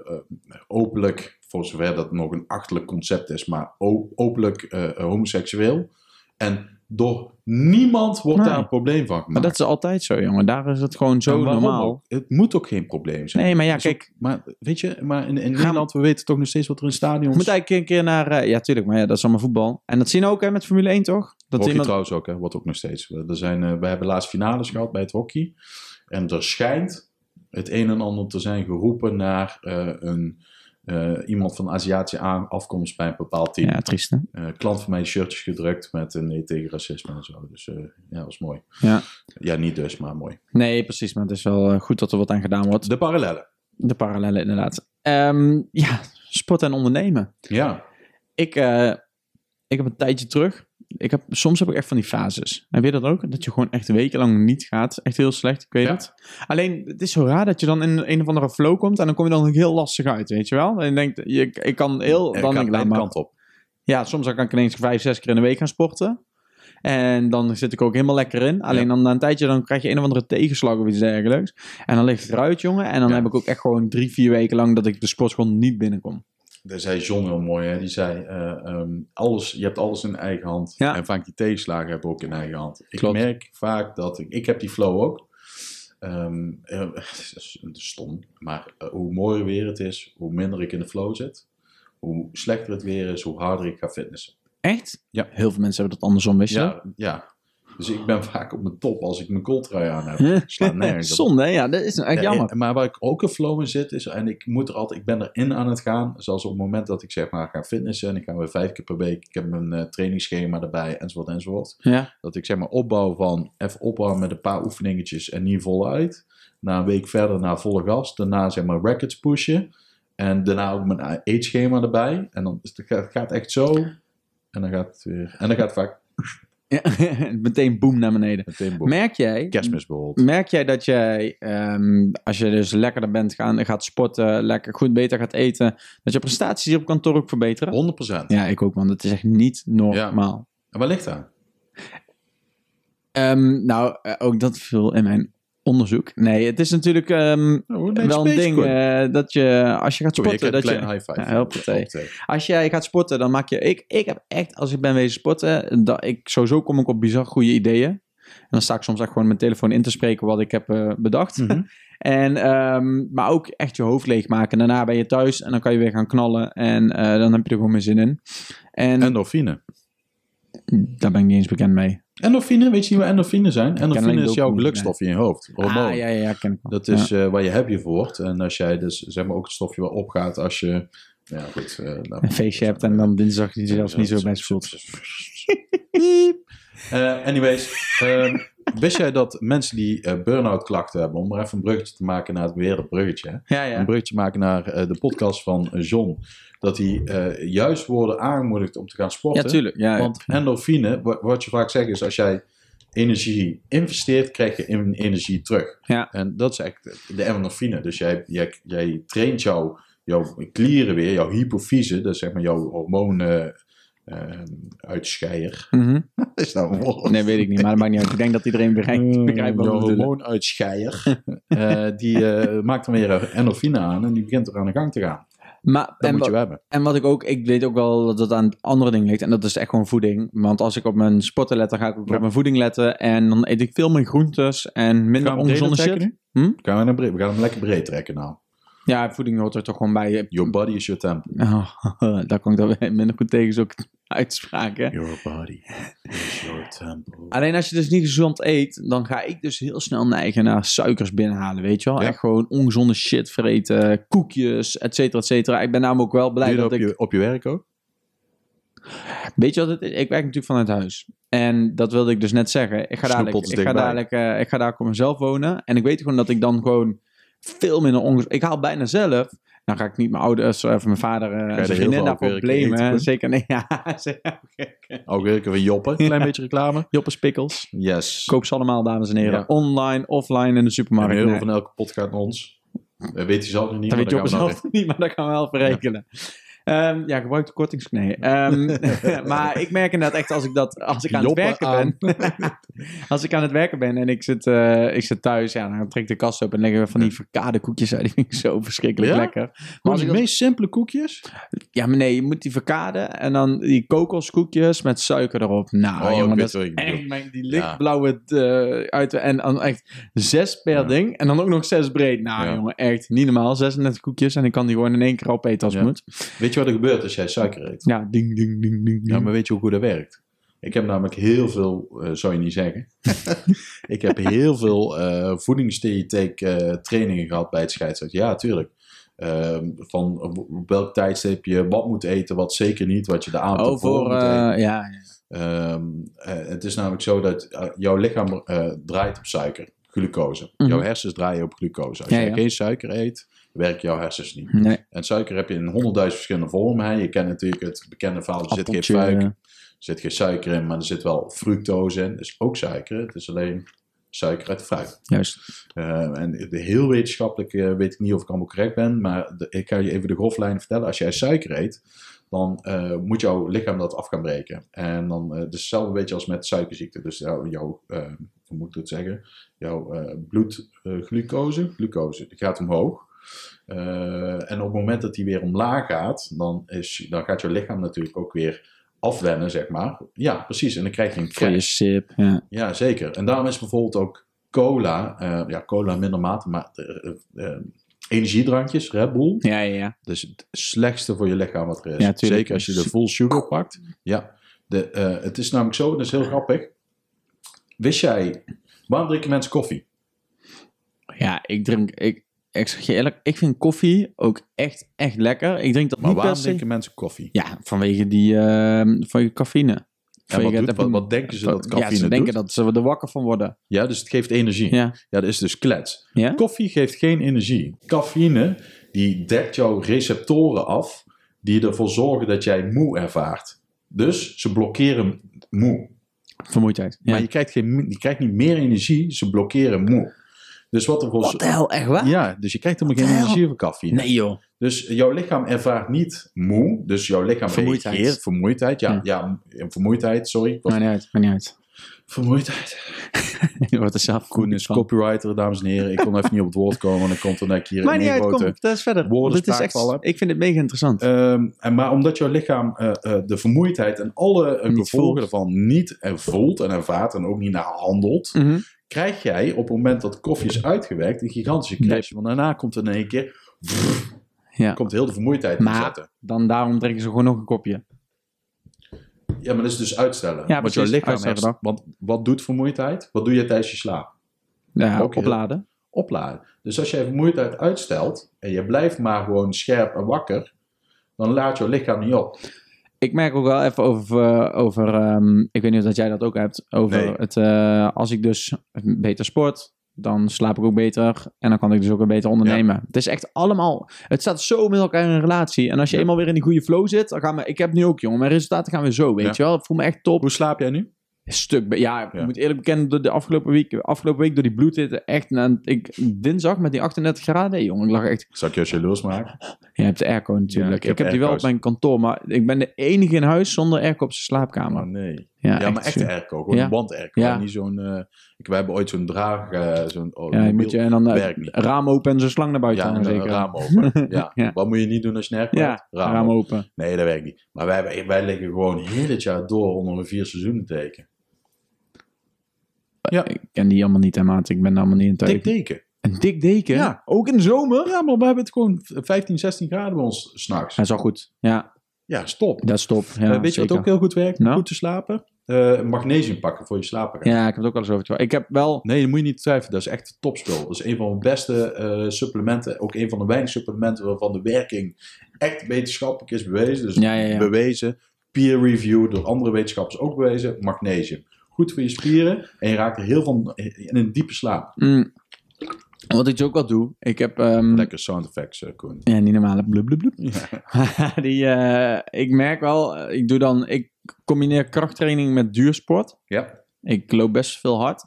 Speaker 4: openlijk, voor zover dat nog een achterlijk concept is, maar o- openlijk eh, homoseksueel. En door niemand wordt
Speaker 2: Nee.
Speaker 4: daar een probleem van gemaakt.
Speaker 2: Maar dat is altijd zo, jongen. Daar is het gewoon
Speaker 4: En
Speaker 2: zo
Speaker 4: waarom
Speaker 2: normaal.
Speaker 4: ook? Het moet ook geen probleem zijn.
Speaker 2: Nee, maar ja,
Speaker 4: Is ook-
Speaker 2: kijk.
Speaker 4: Maar weet je, maar in, in
Speaker 2: we-
Speaker 4: Nederland, we weten toch nog steeds wat er in stadions...
Speaker 2: Je moet eigenlijk een keer naar... eh, ja, tuurlijk, maar ja, dat is allemaal voetbal. En dat zien we ook hè, met Formule 1, toch? Dat
Speaker 4: hockey
Speaker 2: iemand...
Speaker 4: trouwens ook, hè, wordt ook nog steeds. We, er zijn, eh, we hebben laatst finales gehad bij het hockey. En er schijnt het een en ander te zijn geroepen naar eh, een, eh, iemand van Aziatische aan- afkomst bij een bepaald team.
Speaker 2: Ja, triest, hè?
Speaker 4: Eh, klant van mij shirtjes gedrukt met een nee tegen racisme en zo. Dus eh, ja, dat was mooi.
Speaker 2: Ja.
Speaker 4: ja, niet dus, maar mooi.
Speaker 2: Nee, precies. Maar het is wel eh, goed dat er wat aan gedaan wordt.
Speaker 4: De parallellen.
Speaker 2: De parallellen, inderdaad. Ehm, ja, sport en ondernemen.
Speaker 4: Ja,
Speaker 2: ik, eh, ik heb een tijdje terug. Ik heb, soms heb ik echt van die fases. Heb je dat ook? Dat je gewoon echt wekenlang niet gaat. Echt heel slecht, ik weet
Speaker 4: Ja.
Speaker 2: het. Alleen, het is zo raar dat je dan in een of andere flow komt. En dan kom je dan ook heel lastig uit, weet je wel? En je denkt, je, ik kan
Speaker 4: dan
Speaker 2: heel... dan
Speaker 4: gaat
Speaker 2: denk ik, laat
Speaker 4: mijn
Speaker 2: maar.
Speaker 4: kant op.
Speaker 2: Ja, soms dan kan ik ineens vijf, zes keer in de week gaan sporten. En dan zit ik ook helemaal lekker in. Alleen dan na een tijdje dan krijg je een of andere tegenslag of iets dergelijks. En dan ligt het eruit, jongen. En dan
Speaker 4: Ja.
Speaker 2: heb ik ook echt gewoon drie, vier weken lang dat ik de sport gewoon niet binnenkom.
Speaker 4: Daar zei John heel mooi, hè? die zei: eh, ehm, alles, Je hebt alles in eigen hand.
Speaker 2: Ja.
Speaker 4: En vaak die tegenslagen hebben we ook in eigen hand. Ik
Speaker 2: Klopt.
Speaker 4: merk vaak dat ik, ik heb die flow ook. Ehm eh, het is stom, maar eh, hoe mooier weer het is, hoe minder ik in de flow zit. Hoe slechter het weer is, hoe harder ik ga fitnessen.
Speaker 2: Echt?
Speaker 4: Ja.
Speaker 2: Heel veel mensen hebben dat andersom, wist je dat?
Speaker 4: Ja, ja. Dus ik ben vaak op mijn top als ik mijn kooltrui aan heb. Slaat nergens op.
Speaker 2: Zonde, hè? ja, dat is
Speaker 4: Ja,
Speaker 2: echt jammer.
Speaker 4: en- maar waar ik ook een flow in zit, is, en ik moet er altijd, ik ben erin aan het gaan. Zoals op het moment dat ik zeg maar ga fitnessen en ik ga weer vijf keer per week. Ik heb mijn eh, trainingsschema erbij enzovoort enzovoort.
Speaker 2: Ja.
Speaker 4: Dat ik zeg maar opbouw van even opbouwen met een paar oefeningetjes en niet voluit. Na een week verder naar volle gas. Daarna zeg maar records pushen. En daarna ook mijn eh, eetschema erbij. En dan is het, het gaat echt zo. En dan gaat het weer. En dan gaat het vaak
Speaker 2: Ja, Meteen boem naar beneden.
Speaker 4: meteen boven.
Speaker 2: Merk jij,
Speaker 4: Kerstmis bijvoorbeeld.
Speaker 2: merk jij dat jij, ehm, als je dus lekkerder bent, gaan, gaat sporten, lekker goed beter gaat eten, dat je prestaties hier op kantoor ook verbeteren?
Speaker 4: 100%.
Speaker 2: Ja, ik ook, want het is echt niet normaal.
Speaker 4: En waar ligt dat? Nou,
Speaker 2: Ehm, nou, eh, ook dat viel in mijn onderzoek. Nee, het is natuurlijk ehm, wel een ding eh, dat je, als je gaat
Speaker 4: Sorry,
Speaker 2: sporten,
Speaker 4: ik heb een
Speaker 2: dat
Speaker 4: klein
Speaker 2: je...
Speaker 4: high
Speaker 2: Ja,
Speaker 4: five.
Speaker 2: hoppatee.
Speaker 4: Op de-
Speaker 2: Als jij gaat sporten, dan maak je... Ik, ik heb echt, als ik ben wezen sporten, dat ik, sowieso kom ik op bizar goede ideeën. En dan sta ik soms echt gewoon mijn telefoon in te spreken wat ik heb eh, bedacht.
Speaker 4: Mhm.
Speaker 2: En, ehm, maar ook echt je hoofd leegmaken. Daarna ben je thuis en dan kan je weer gaan knallen. En eh, dan heb je er gewoon meer zin in. En,
Speaker 4: Endorfine.
Speaker 2: daar ben ik niet eens bekend mee.
Speaker 4: Endorfine, weet je niet wat endorfine zijn?
Speaker 2: alleen
Speaker 4: Endorfine
Speaker 2: de
Speaker 4: is jouw
Speaker 2: dopamine,
Speaker 4: gelukstof in je hoofd. Hormoon.
Speaker 2: Ah, ja, ja, ja, ken ik wel.
Speaker 4: Dat
Speaker 2: Ja.
Speaker 4: is eh, waar je happy voor wordt. En als jij dus zeg maar ook het stofje wel opgaat als je... Ja, goed. eh, laat
Speaker 2: Een
Speaker 4: maar.
Speaker 2: feestje hebt en dan dinsdag je jezelf niet zo best voelt.
Speaker 4: Eh, anyways, ehm, wist jij dat mensen die eh, burn-out klachten hebben, om maar even een bruggetje te maken naar het weer een bruggetje, hè?
Speaker 2: Ja, ja.
Speaker 4: een bruggetje maken naar eh, de podcast van eh, John, dat die eh, juist worden aangemoedigd om te gaan
Speaker 2: Ja,
Speaker 4: sporten.
Speaker 2: tuurlijk. Ja,
Speaker 4: Want endorfine, wa- wat je vaak zegt is als jij energie investeert, krijg je in energie terug.
Speaker 2: Ja.
Speaker 4: En dat is echt de endorfine. Dus jij, jij, jij traint jouw, jouw klieren weer, jouw hypofyse, dat is zeg maar jouw hormonen eh, uitscheier.
Speaker 2: Mhm.
Speaker 4: Is dat een woord?
Speaker 2: Nee, weet ik niet. Maar dat maakt niet uit. Ik denk dat iedereen begrijpt, begrijpt wat we
Speaker 4: Mm, jouw
Speaker 2: bedoelen.
Speaker 4: hormoonuitscheier, eh, die eh, maakt dan weer endorfine aan en die begint er aan de gang te gaan.
Speaker 2: Maar,
Speaker 4: Dat
Speaker 2: en,
Speaker 4: moet
Speaker 2: wa-
Speaker 4: je wel hebben.
Speaker 2: En wat ik ook, ik weet ook wel dat dat aan het andere ding ligt. En dat is echt gewoon voeding. Want als ik op mijn sporten let, dan ga ik ook
Speaker 4: Ja.
Speaker 2: op mijn voeding letten. En dan eet ik veel meer groentes en minder
Speaker 4: Gaan we hem
Speaker 2: ongezonde
Speaker 4: breder
Speaker 2: shit.
Speaker 4: trekken nu? Gaan we, naar bre- we gaan hem lekker breed trekken nou.
Speaker 2: Ja, voeding hoort er toch gewoon bij.
Speaker 4: Your body is your temple.
Speaker 2: Oh, daar kan ik dan weer minder goed tegen zo'n uitspraak. hè.
Speaker 4: Your body is your temple.
Speaker 2: Alleen als je dus niet gezond eet, dan ga ik dus heel snel neigen naar suikers binnenhalen, weet je wel.
Speaker 4: Ja.
Speaker 2: Echt gewoon ongezonde shit vreten, koekjes, et cetera, et cetera. Ik ben namelijk ook wel
Speaker 4: Doe
Speaker 2: blij
Speaker 4: je dat
Speaker 2: dat
Speaker 4: op,
Speaker 2: ik...
Speaker 4: je, op je werk ook?
Speaker 2: Weet je wat het is? Ik werk natuurlijk vanuit huis. En dat wilde ik dus net zeggen. Ik ga dadelijk,
Speaker 4: Snoeppot
Speaker 2: ik ga
Speaker 4: dichtbij.
Speaker 2: dadelijk, eh, ik ga dadelijk op mezelf wonen. En ik weet gewoon dat ik dan gewoon veel minder onge. Ik haal bijna zelf. Nou ga ik niet mijn ouders of mijn vader eh, en
Speaker 4: heel
Speaker 2: zijn vriendin
Speaker 4: veel
Speaker 2: daarvoor
Speaker 4: afwerken,
Speaker 2: blamen.
Speaker 4: eten,
Speaker 2: hè.
Speaker 4: hoor.
Speaker 2: Zeker, nee, ja. zeker.
Speaker 4: Ook weer een keer van Joppen. Klein beetje reclame.
Speaker 2: Joppespikkels.
Speaker 4: Yes.
Speaker 2: Koop ze allemaal, dames en heren.
Speaker 4: Ja.
Speaker 2: Online, offline in de
Speaker 4: Maar
Speaker 2: supermarkt.
Speaker 4: een euro
Speaker 2: Nee,
Speaker 4: van elke pot gaat naar ons. Dat weet hij zelf nog niet. maar
Speaker 2: dat weet je op
Speaker 4: daar gaan we
Speaker 2: mezelf niet, maar dat gaan we wel verrekenen. Ja, ja gebruik de kortings... Nee. Ehm, maar ik merk inderdaad echt als ik, dat, als ik aan
Speaker 4: Joppen
Speaker 2: het werken ben... als ik aan het werken ben en ik zit, eh, ik zit thuis, ja, dan trek ik de kast op en leg ik van die verkade koekjes uit. Die vind ik zo verschrikkelijk
Speaker 4: Ja?
Speaker 2: lekker. Maar
Speaker 4: naar
Speaker 2: als
Speaker 4: de
Speaker 2: ik dat-
Speaker 4: meest simpele koekjes.
Speaker 2: Ja, maar nee, je moet die verkaden en dan die kokoskoekjes met suiker erop. Nou,
Speaker 4: Oh, ik
Speaker 2: jongen,
Speaker 4: weet
Speaker 2: dat
Speaker 4: wat
Speaker 2: is
Speaker 4: je bedoelt.
Speaker 2: echt mijn- die lichtblauwe eh, uit en dan echt zes per
Speaker 4: Ja.
Speaker 2: ding en dan ook nog zes breed. Nou,
Speaker 4: Ja.
Speaker 2: jongen, echt niet normaal. 36 koekjes en ik kan die gewoon in één keer opeten als
Speaker 4: Ja.
Speaker 2: het moet.
Speaker 4: Weet je wat er gebeurt als jij suiker eet?
Speaker 2: Ja, ding, ding, ding, ding,
Speaker 4: Ja,
Speaker 2: ding.
Speaker 4: maar weet je hoe goed dat werkt? Ik heb namelijk heel veel, eh, zou je niet zeggen. ik heb heel veel eh voedingsdiëteek eh, trainingen gehad bij het scheidsrechter. Ja, tuurlijk. Ehm, van op welk tijdstip je wat moet eten, wat zeker niet, wat je de avond
Speaker 2: oh,
Speaker 4: ervoor
Speaker 2: voor,
Speaker 4: moet
Speaker 2: eh,
Speaker 4: eten.
Speaker 2: ja, ja.
Speaker 4: Ehm, eh, het is namelijk zo dat eh, jouw lichaam eh, draait op suiker, glucose.
Speaker 2: Mhm.
Speaker 4: Jouw hersens draaien op glucose. Als
Speaker 2: Ja,
Speaker 4: jij
Speaker 2: ja.
Speaker 4: geen suiker eet, werken jouw hersens niet.
Speaker 2: nee,
Speaker 4: En suiker heb je in honderdduizend verschillende vormen. Hè. Je kent natuurlijk het bekende verhaal, er zit geen
Speaker 2: appeltje. eh,
Speaker 4: fuik, er zit geen suiker in, maar er zit wel fructose in. Dat is ook suiker, het is alleen suiker uit de fruit.
Speaker 2: Juist.
Speaker 4: Eh, en de heel wetenschappelijk eh, weet ik niet of ik allemaal correct ben, maar de- ik ga je even de groflijn vertellen. Als jij suiker eet, dan eh, moet jouw lichaam dat af gaan breken. En dan, eh, het is hetzelfde beetje als met suikerziekte. Dus jouw, jouw eh, hoe moet ik dat zeggen, jouw eh, bloedglucose, glucose, die gaat omhoog. Eh, en op het moment dat die weer omlaag gaat, dan, is, dan gaat jouw lichaam natuurlijk ook weer afwennen, zeg maar. Ja, precies. En dan krijg je een
Speaker 2: Voor je
Speaker 4: crash.
Speaker 2: sip, ja.
Speaker 4: Ja, zeker. En daarom is bijvoorbeeld ook cola, eh, ja, cola in minder mate, maar eh, eh, eh, energiedrankjes, Red Bull,
Speaker 2: Ja, ja, ja.
Speaker 4: dat is het slechtste voor je lichaam wat er is.
Speaker 2: Ja, tuurlijk.
Speaker 4: zeker als je de full sugar pakt. Ja, de, eh, het is namelijk zo, dat is heel grappig. Wist jij, waarom drinken mensen koffie?
Speaker 2: Ja, ik drink... Ik, ik zeg je eerlijk, ik vind koffie ook echt, echt lekker. Ik drink dat
Speaker 4: Maar
Speaker 2: niet per
Speaker 4: waarom
Speaker 2: se.
Speaker 4: drinken mensen koffie?
Speaker 2: Ja, vanwege die ehm vanwege cafeïne.
Speaker 4: En wat,
Speaker 2: Vanwege
Speaker 4: doet-
Speaker 2: het-
Speaker 4: wat, wat denken ze dat
Speaker 2: Ja,
Speaker 4: cafeïne
Speaker 2: ze
Speaker 4: doet?
Speaker 2: denken dat ze er wakker van worden.
Speaker 4: Ja, dus het geeft energie.
Speaker 2: Ja.
Speaker 4: Ja, dat is dus klets.
Speaker 2: Ja?
Speaker 4: Koffie geeft geen energie. Cafeïne, die dekt jouw receptoren af, die ervoor zorgen dat jij moe ervaart. Dus ze blokkeren moe.
Speaker 2: Vermoeidheid. Ja.
Speaker 4: Maar je krijgt, geen, je krijgt niet meer energie, ze blokkeren moe. Dus wat ervoor...
Speaker 2: Wat de hel, echt waar?
Speaker 4: Ja, dus je krijgt helemaal geen
Speaker 2: Wat de
Speaker 4: energie van cafeïne.
Speaker 2: Nee joh.
Speaker 4: Dus jouw lichaam ervaart niet moe, dus jouw lichaam
Speaker 2: Vermoeidheid. Hm.
Speaker 4: reageert. Vermoeidheid, ja.
Speaker 2: Ja.
Speaker 4: ja. vermoeidheid, sorry.
Speaker 2: Maakt niet uit, maakt niet uit.
Speaker 4: Vermoeidheid.
Speaker 2: Je wordt er zelf
Speaker 4: Koen
Speaker 2: goed
Speaker 4: is
Speaker 2: van.
Speaker 4: copywriter, dames en heren. Ik kon even niet op het woord komen. En dan komt er net hier
Speaker 2: Maakt niet
Speaker 4: een
Speaker 2: uit, kom,
Speaker 4: grote...
Speaker 2: dat is verder.
Speaker 4: woorden
Speaker 2: Want het is
Speaker 4: spraak
Speaker 2: echt,
Speaker 4: vallen.
Speaker 2: ik vind het mega interessant.
Speaker 4: Ehm, en maar omdat jouw lichaam eh, eh, de vermoeidheid en alle eh,
Speaker 2: Niet
Speaker 4: gevolgen
Speaker 2: voelt.
Speaker 4: ervan niet eh, voelt en ervaart en ook niet naar handelt,
Speaker 2: Mhm.
Speaker 4: krijg jij op het moment dat koffie is uitgewerkt een gigantische crash. Want daarna komt er in één keer
Speaker 2: Ja.
Speaker 4: komt heel de vermoeidheid
Speaker 2: Maar-
Speaker 4: opzetten.
Speaker 2: Dan daarom drinken ze gewoon nog een kopje.
Speaker 4: Ja, maar dat is dus uitstellen.
Speaker 2: Ja,
Speaker 4: want jouw
Speaker 2: precies,
Speaker 4: lichaam
Speaker 2: uitstellen
Speaker 4: heeft, want wat doet vermoeidheid? Wat doe je tijdens je slaap?
Speaker 2: Ja,
Speaker 4: Ook heel-
Speaker 2: opladen.
Speaker 4: opladen. Dus als jij vermoeidheid uitstelt en je blijft maar gewoon scherp en wakker, dan laat je lichaam niet op.
Speaker 2: Ik merk ook wel even over, eh, over ehm, ik weet niet of dat jij dat ook hebt, over
Speaker 4: Nee.
Speaker 2: het, eh, als ik dus beter sport, dan slaap ik ook beter en dan kan ik dus ook weer beter ondernemen. Het is echt allemaal, het staat zo met elkaar in een relatie. En als je
Speaker 4: Ja.
Speaker 2: eenmaal weer in die goede flow zit, dan gaan we, ik heb nu ook jongen, mijn resultaten gaan weer zo, weet
Speaker 4: Ja.
Speaker 2: je wel. Ik voel me echt top.
Speaker 4: Hoe slaap jij nu?
Speaker 2: Een stuk. be- Ja, ik
Speaker 4: Ja.
Speaker 2: moet eerlijk bekennen, door de afgelopen week, afgelopen week door die bloedhitte, echt, na, ik, dinsdag met die 38 graden, hé, jongen, ik lag echt.
Speaker 4: Zal ik je jaloers maken?
Speaker 2: Je hebt de airco natuurlijk.
Speaker 4: Ja, ik
Speaker 2: ik,
Speaker 4: heb
Speaker 2: heb die wel op
Speaker 4: airco's.
Speaker 2: mijn kantoor, maar ik ben de enige in huis zonder airco op zijn
Speaker 4: Maar
Speaker 2: slaapkamer.
Speaker 4: nee.
Speaker 2: Oh, Ja,
Speaker 4: Ja, maar echt
Speaker 2: zuur.
Speaker 4: airco. Gewoon
Speaker 2: Ja.
Speaker 4: een banderco.
Speaker 2: Ja.
Speaker 4: Niet zo'n... eh, ik, wij hebben ooit zo'n draag... eh, zo'n oh,
Speaker 2: Ja, je
Speaker 4: mobiel-
Speaker 2: moet je en dan eh,
Speaker 4: werkt niet.
Speaker 2: raam open en zo'n slang naar buiten
Speaker 4: ja,
Speaker 2: hangen,
Speaker 4: en dan
Speaker 2: zeker.
Speaker 4: een raam open. Ja.
Speaker 2: Ja.
Speaker 4: Wat moet je niet doen als je een airco
Speaker 2: Ja,
Speaker 4: hebt?
Speaker 2: raam,
Speaker 4: open.
Speaker 2: open.
Speaker 4: Nee, dat werkt niet. Maar wij, hebben- wij liggen gewoon heel het jaar door onder een vier seizoenen teken. Ja.
Speaker 2: Ik ken die allemaal niet, hè, maat. Ik ben allemaal niet in
Speaker 4: Dik
Speaker 2: tijd.
Speaker 4: teken.
Speaker 2: Een dik deken?
Speaker 4: Ja.
Speaker 2: Ook in de zomer?
Speaker 4: Ja, maar we hebben het gewoon 15, 16 graden bij ons s'nachts.
Speaker 2: Dat is al goed. Ja,
Speaker 4: Ja, stop.
Speaker 2: dat is top. Ja,
Speaker 4: Eh, weet je
Speaker 2: zeker.
Speaker 4: wat ook heel goed werkt? om
Speaker 2: Nou?
Speaker 4: Goed te slapen? Eh, magnesium pakken voor je slapen. gaat.
Speaker 2: Ja, ik heb het ook al eens over. het gehad. Ik heb wel...
Speaker 4: Nee, dat moet je niet twijfelen. Dat is echt het topspul. Dat is een van de beste eh, supplementen. Ook een van de weinig supplementen waarvan de werking echt wetenschappelijk is bewezen. Dus
Speaker 2: Ja, ja, ja.
Speaker 4: bewezen, peer review door andere wetenschappers ook bewezen. Magnesium. Goed voor je spieren en je raakt er heel van in een diepe slaap.
Speaker 2: Mm. Wat ik dus ook wel doe, ik heb... ehm,
Speaker 4: Lekker sound effects, eh, Koen.
Speaker 2: Ja, niet normale blub blub blub. die, eh, ik merk wel, eh, ik doe dan, ik combineer krachttraining met duursport.
Speaker 4: Ja.
Speaker 2: Ik loop best veel hard.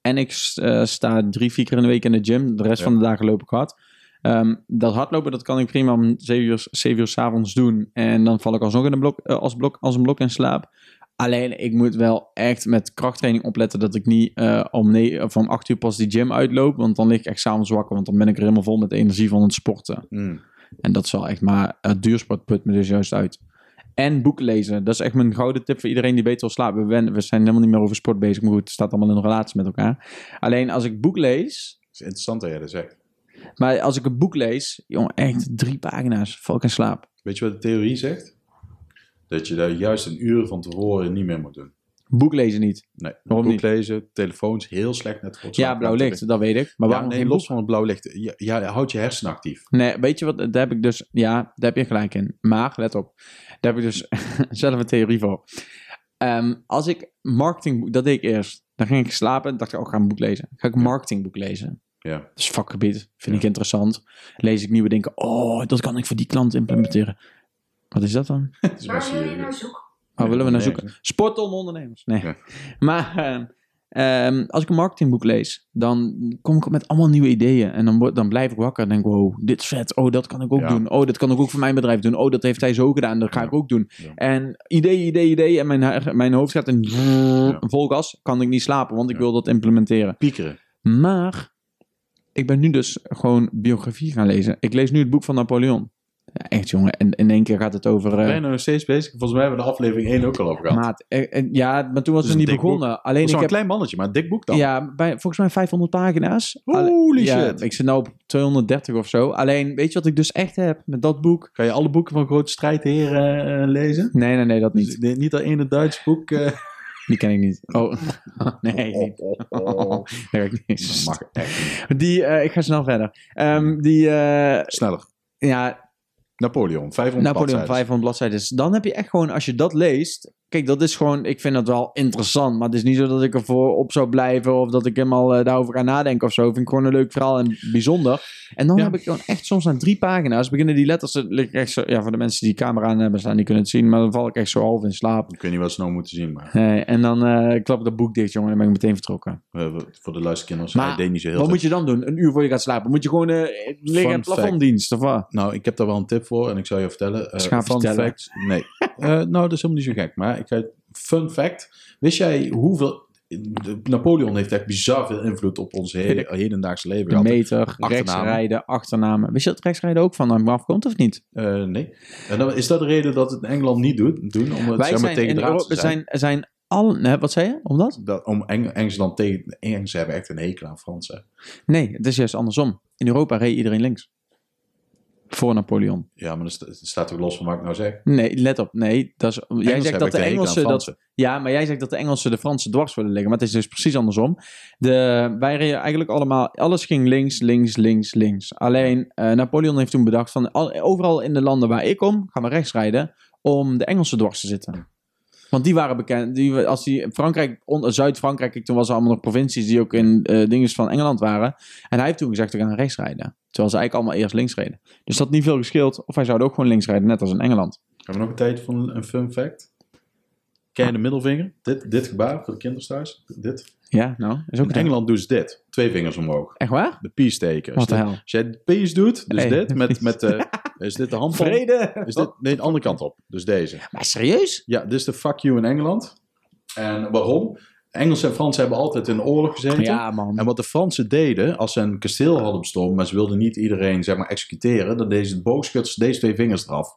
Speaker 2: En ik eh, sta drie, vier keer in de week in de gym. De rest
Speaker 4: Ja.
Speaker 2: van de dagen loop ik hard. Ehm, dat hardlopen, dat kan ik prima om zeven uur, zeven uur s'avonds doen. En dan val ik alsnog in een blok, eh, als, blok, als een blok in slaap. Alleen, ik moet wel echt met krachttraining opletten dat ik niet eh, om, ne- of om acht uur pas die gym uitloop. Want dan lig ik echt s'avonds wakker, want dan ben ik er helemaal vol met de energie van het sporten.
Speaker 4: Mm.
Speaker 2: En dat zal echt maar het duursport put me dus juist uit. En boeken lezen. Dat is echt mijn gouden tip voor iedereen die beter wil slapen. We, wen- we zijn helemaal niet meer over sport bezig. Maar goed, het staat allemaal in een relatie met elkaar. Alleen als ik boek lees.
Speaker 4: is interessant dat jij dat zegt.
Speaker 2: Maar als ik een boek lees. Jongen, echt drie pagina's. Val ik in slaap.
Speaker 4: Weet je wat de theorie zegt? Dat je daar juist een uur van tevoren niet meer moet doen.
Speaker 2: Boek lezen niet.
Speaker 4: Nee,
Speaker 2: Waarom
Speaker 4: boek
Speaker 2: niet?
Speaker 4: lezen, telefoons, heel slecht net voor het
Speaker 2: Ja,
Speaker 4: slapen
Speaker 2: blauw
Speaker 4: natuurlijk.
Speaker 2: licht. Dat weet ik. Maar
Speaker 4: Ja,
Speaker 2: waarom
Speaker 4: nee,
Speaker 2: geen
Speaker 4: los
Speaker 2: boek?
Speaker 4: van het blauw licht. Ja, ja, houd je hersen actief.
Speaker 2: Nee, weet je wat? Daar heb ik dus. Ja, daar heb je gelijk in. Maar let op. Daar heb ik dus zelf een theorie voor. Ehm, als ik marketingboek. Dat deed ik eerst. Dan ging ik slapen en dacht ik, oh, ik ga een boek lezen. Ga ik een marketingboek lezen.
Speaker 4: Ja.
Speaker 2: Dat is vakgebied. Vind
Speaker 4: Ja.
Speaker 2: ik interessant. Lees ik nieuwe denken. Oh, dat kan ik voor die klant implementeren. Wat is dat dan?
Speaker 4: Dat is
Speaker 5: Waar
Speaker 4: best,
Speaker 5: wil je nou
Speaker 4: eh,
Speaker 5: naar zoeken?
Speaker 2: Waar
Speaker 4: Ja,
Speaker 2: willen we naar
Speaker 4: nergens,
Speaker 2: zoeken? Sport om ondernemers. Nee.
Speaker 4: Ja.
Speaker 2: Maar ehm, ehm, als ik een marketingboek lees, dan kom ik op met allemaal nieuwe ideeën. En dan, word- dan blijf ik wakker en denk wow, dit is vet. Oh, dat kan ik ook
Speaker 4: Ja.
Speaker 2: doen. Oh, dat kan ik ook voor mijn bedrijf doen. Oh, dat heeft hij zo gedaan. Dat ga
Speaker 4: Ja.
Speaker 2: ik ook doen.
Speaker 4: Ja.
Speaker 2: En idee, idee, idee. En mijn, hu- mijn hoofd gaat in
Speaker 4: Ja.
Speaker 2: vol gas. Kan ik niet slapen, want ik
Speaker 4: Ja.
Speaker 2: wil dat implementeren.
Speaker 4: Piekeren.
Speaker 2: Maar ik ben nu dus gewoon biografie gaan lezen. Ik lees nu het boek van Napoleon. Ja, echt jongen. En in één keer gaat het over... eh,
Speaker 4: We zijn nou nog steeds bezig. Volgens mij hebben we de aflevering 1 ook al over gehad.
Speaker 2: Maat, eh, eh, ja, maar toen was
Speaker 4: Dus
Speaker 2: het
Speaker 4: een
Speaker 2: niet
Speaker 4: dik boek.
Speaker 2: begonnen. Alleen
Speaker 4: Zo'n
Speaker 2: ik heb
Speaker 4: klein mannetje, maar een dik boek dan.
Speaker 2: ja, bij, volgens mij 500 pagina's. Alle-
Speaker 4: Holy
Speaker 2: ja,
Speaker 4: shit.
Speaker 2: Ik zit nu op 230 of zo. Alleen, weet je wat ik dus echt heb met dat boek?
Speaker 4: Kan je alle boeken van Groot Strijdheer eh, eh, lezen?
Speaker 2: Nee, nee, nee, dat
Speaker 4: Dus
Speaker 2: niet.
Speaker 4: de- niet dat ene Duits boek. eh,
Speaker 2: Die ken ik niet. Oh, nee. nee. Dat heb ik
Speaker 4: Dat
Speaker 2: niet.
Speaker 4: mag echt. niet.
Speaker 2: Die, eh, ik ga snel verder. Ehm, die, eh,
Speaker 4: Sneller.
Speaker 2: ja,
Speaker 4: Napoleon, 500
Speaker 2: Napoleon
Speaker 4: bladzijden.
Speaker 2: 500 bladzijden. Dan heb je echt gewoon, als je dat leest. Kijk, dat is gewoon, ik vind dat wel interessant. Maar het is niet zo dat ik ervoor op zou blijven. Of dat ik helemaal eh, daarover ga nadenken of zo. Vind ik gewoon een leuk verhaal en bijzonder. En dan
Speaker 4: Ja.
Speaker 2: heb ik dan echt soms na drie pagina's. beginnen die letters. eh, lig ik echt zo, ja, voor de mensen die camera aan hebben staan, die kunnen het zien. Maar dan val ik echt zo half in slaap.
Speaker 4: Ik weet niet wat ze nou moeten zien, maar
Speaker 2: Nee, en dan eh, klap ik dat boek dicht, jongen. Dan ben ik meteen vertrokken.
Speaker 4: eh, voor de luisterkinders,
Speaker 2: Maar
Speaker 4: hij deed niet zo heel
Speaker 2: Wat
Speaker 4: veel.
Speaker 2: moet je dan doen? Een uur voor je gaat slapen. Moet je gewoon eh, liggen
Speaker 4: Fun
Speaker 2: en plafonddienst of wat?
Speaker 4: Nou, ik heb daar wel een tip voor en ik zal je vertellen. eh,
Speaker 2: Schaap
Speaker 4: fun
Speaker 2: Dus vertellen.
Speaker 4: fact. Nee. Eh, nou, dat is helemaal niet zo gek. Maar ik ga, fun fact. Wist jij hoeveel... de- Napoleon heeft echt bizar veel invloed op ons he- hedendaagse leven
Speaker 2: De
Speaker 4: gehad.
Speaker 2: meter,
Speaker 4: Achternamen.
Speaker 2: rechtsrijden, achternamen. Wist je dat rechtsrijden ook van hem afkomt of niet?
Speaker 4: Eh, nee. En dan, is dat de reden dat het in Engeland niet doet, doen? Om het
Speaker 2: Wij
Speaker 4: zeg maar,
Speaker 2: zijn
Speaker 4: tegen
Speaker 2: in
Speaker 4: de raad
Speaker 2: Europa,
Speaker 4: te zijn.
Speaker 2: zijn, zijn al, nee, wat zei je, omdat?
Speaker 4: Dat, om Eng Engeland tegen... Engelsen hebben echt een hekel aan Fransen.
Speaker 2: Nee, het is juist andersom. In Europa reed iedereen links. Voor Napoleon.
Speaker 4: Ja, maar dat sta- dat staat ook los van wat ik nou zeg.
Speaker 2: Nee, let op. Nee, dat is, jij
Speaker 4: Engelsen
Speaker 2: zegt
Speaker 4: hebben
Speaker 2: dat
Speaker 4: echt
Speaker 2: de
Speaker 4: een hekel aan
Speaker 2: Engelsen dat,
Speaker 4: Fransen.
Speaker 2: ja, maar jij zegt dat de Engelsen de Fransen dwars willen liggen. Maar het is dus precies andersom. De, wij reden eigenlijk allemaal, alles ging links, links, links, links. Alleen eh, Napoleon heeft toen bedacht van al, overal in de landen waar ik kom, gaan we rechts rijden om de Engelsen dwars te zitten. Want die waren bekend. Die, als die Frankrijk, on- Zuid-Frankrijk, toen was er allemaal nog provincies die ook in eh dingen van Engeland waren. En hij heeft toen gezegd, we gaan rechts rijden. Terwijl ze eigenlijk allemaal eerst links reden. Dus dat had niet veel gescheeld. Of hij zou ook gewoon links rijden, net als in Engeland.
Speaker 4: Hebben we nog een tijd van een fun fact? Ken je de middelvinger? Dit, dit gebaar voor de kinderen thuis? Dit.
Speaker 2: Ja, nou, is ook
Speaker 4: In
Speaker 2: een
Speaker 4: Engeland doen ze dit. Twee vingers omhoog.
Speaker 2: Echt waar?
Speaker 4: De peace teken.
Speaker 2: Wat
Speaker 4: Als
Speaker 2: de
Speaker 4: dit-
Speaker 2: hel.
Speaker 4: Als jij de peace doet, dus
Speaker 2: Hey.
Speaker 4: dit, met, met de, is dit de hand van-
Speaker 2: Vrede!
Speaker 4: Is dit, nee, de andere kant op. Dus deze.
Speaker 2: Maar serieus?
Speaker 4: Ja, dit is de fuck you in Engeland. En waarom? Engelsen en Fransen hebben altijd in oorlog gezeten.
Speaker 2: Ja, man.
Speaker 4: En wat de Fransen deden, als ze een kasteel hadden bestormd, maar ze wilden niet iedereen zeg maar, executeren, dan deden ze de boogschutters deze twee vingers eraf.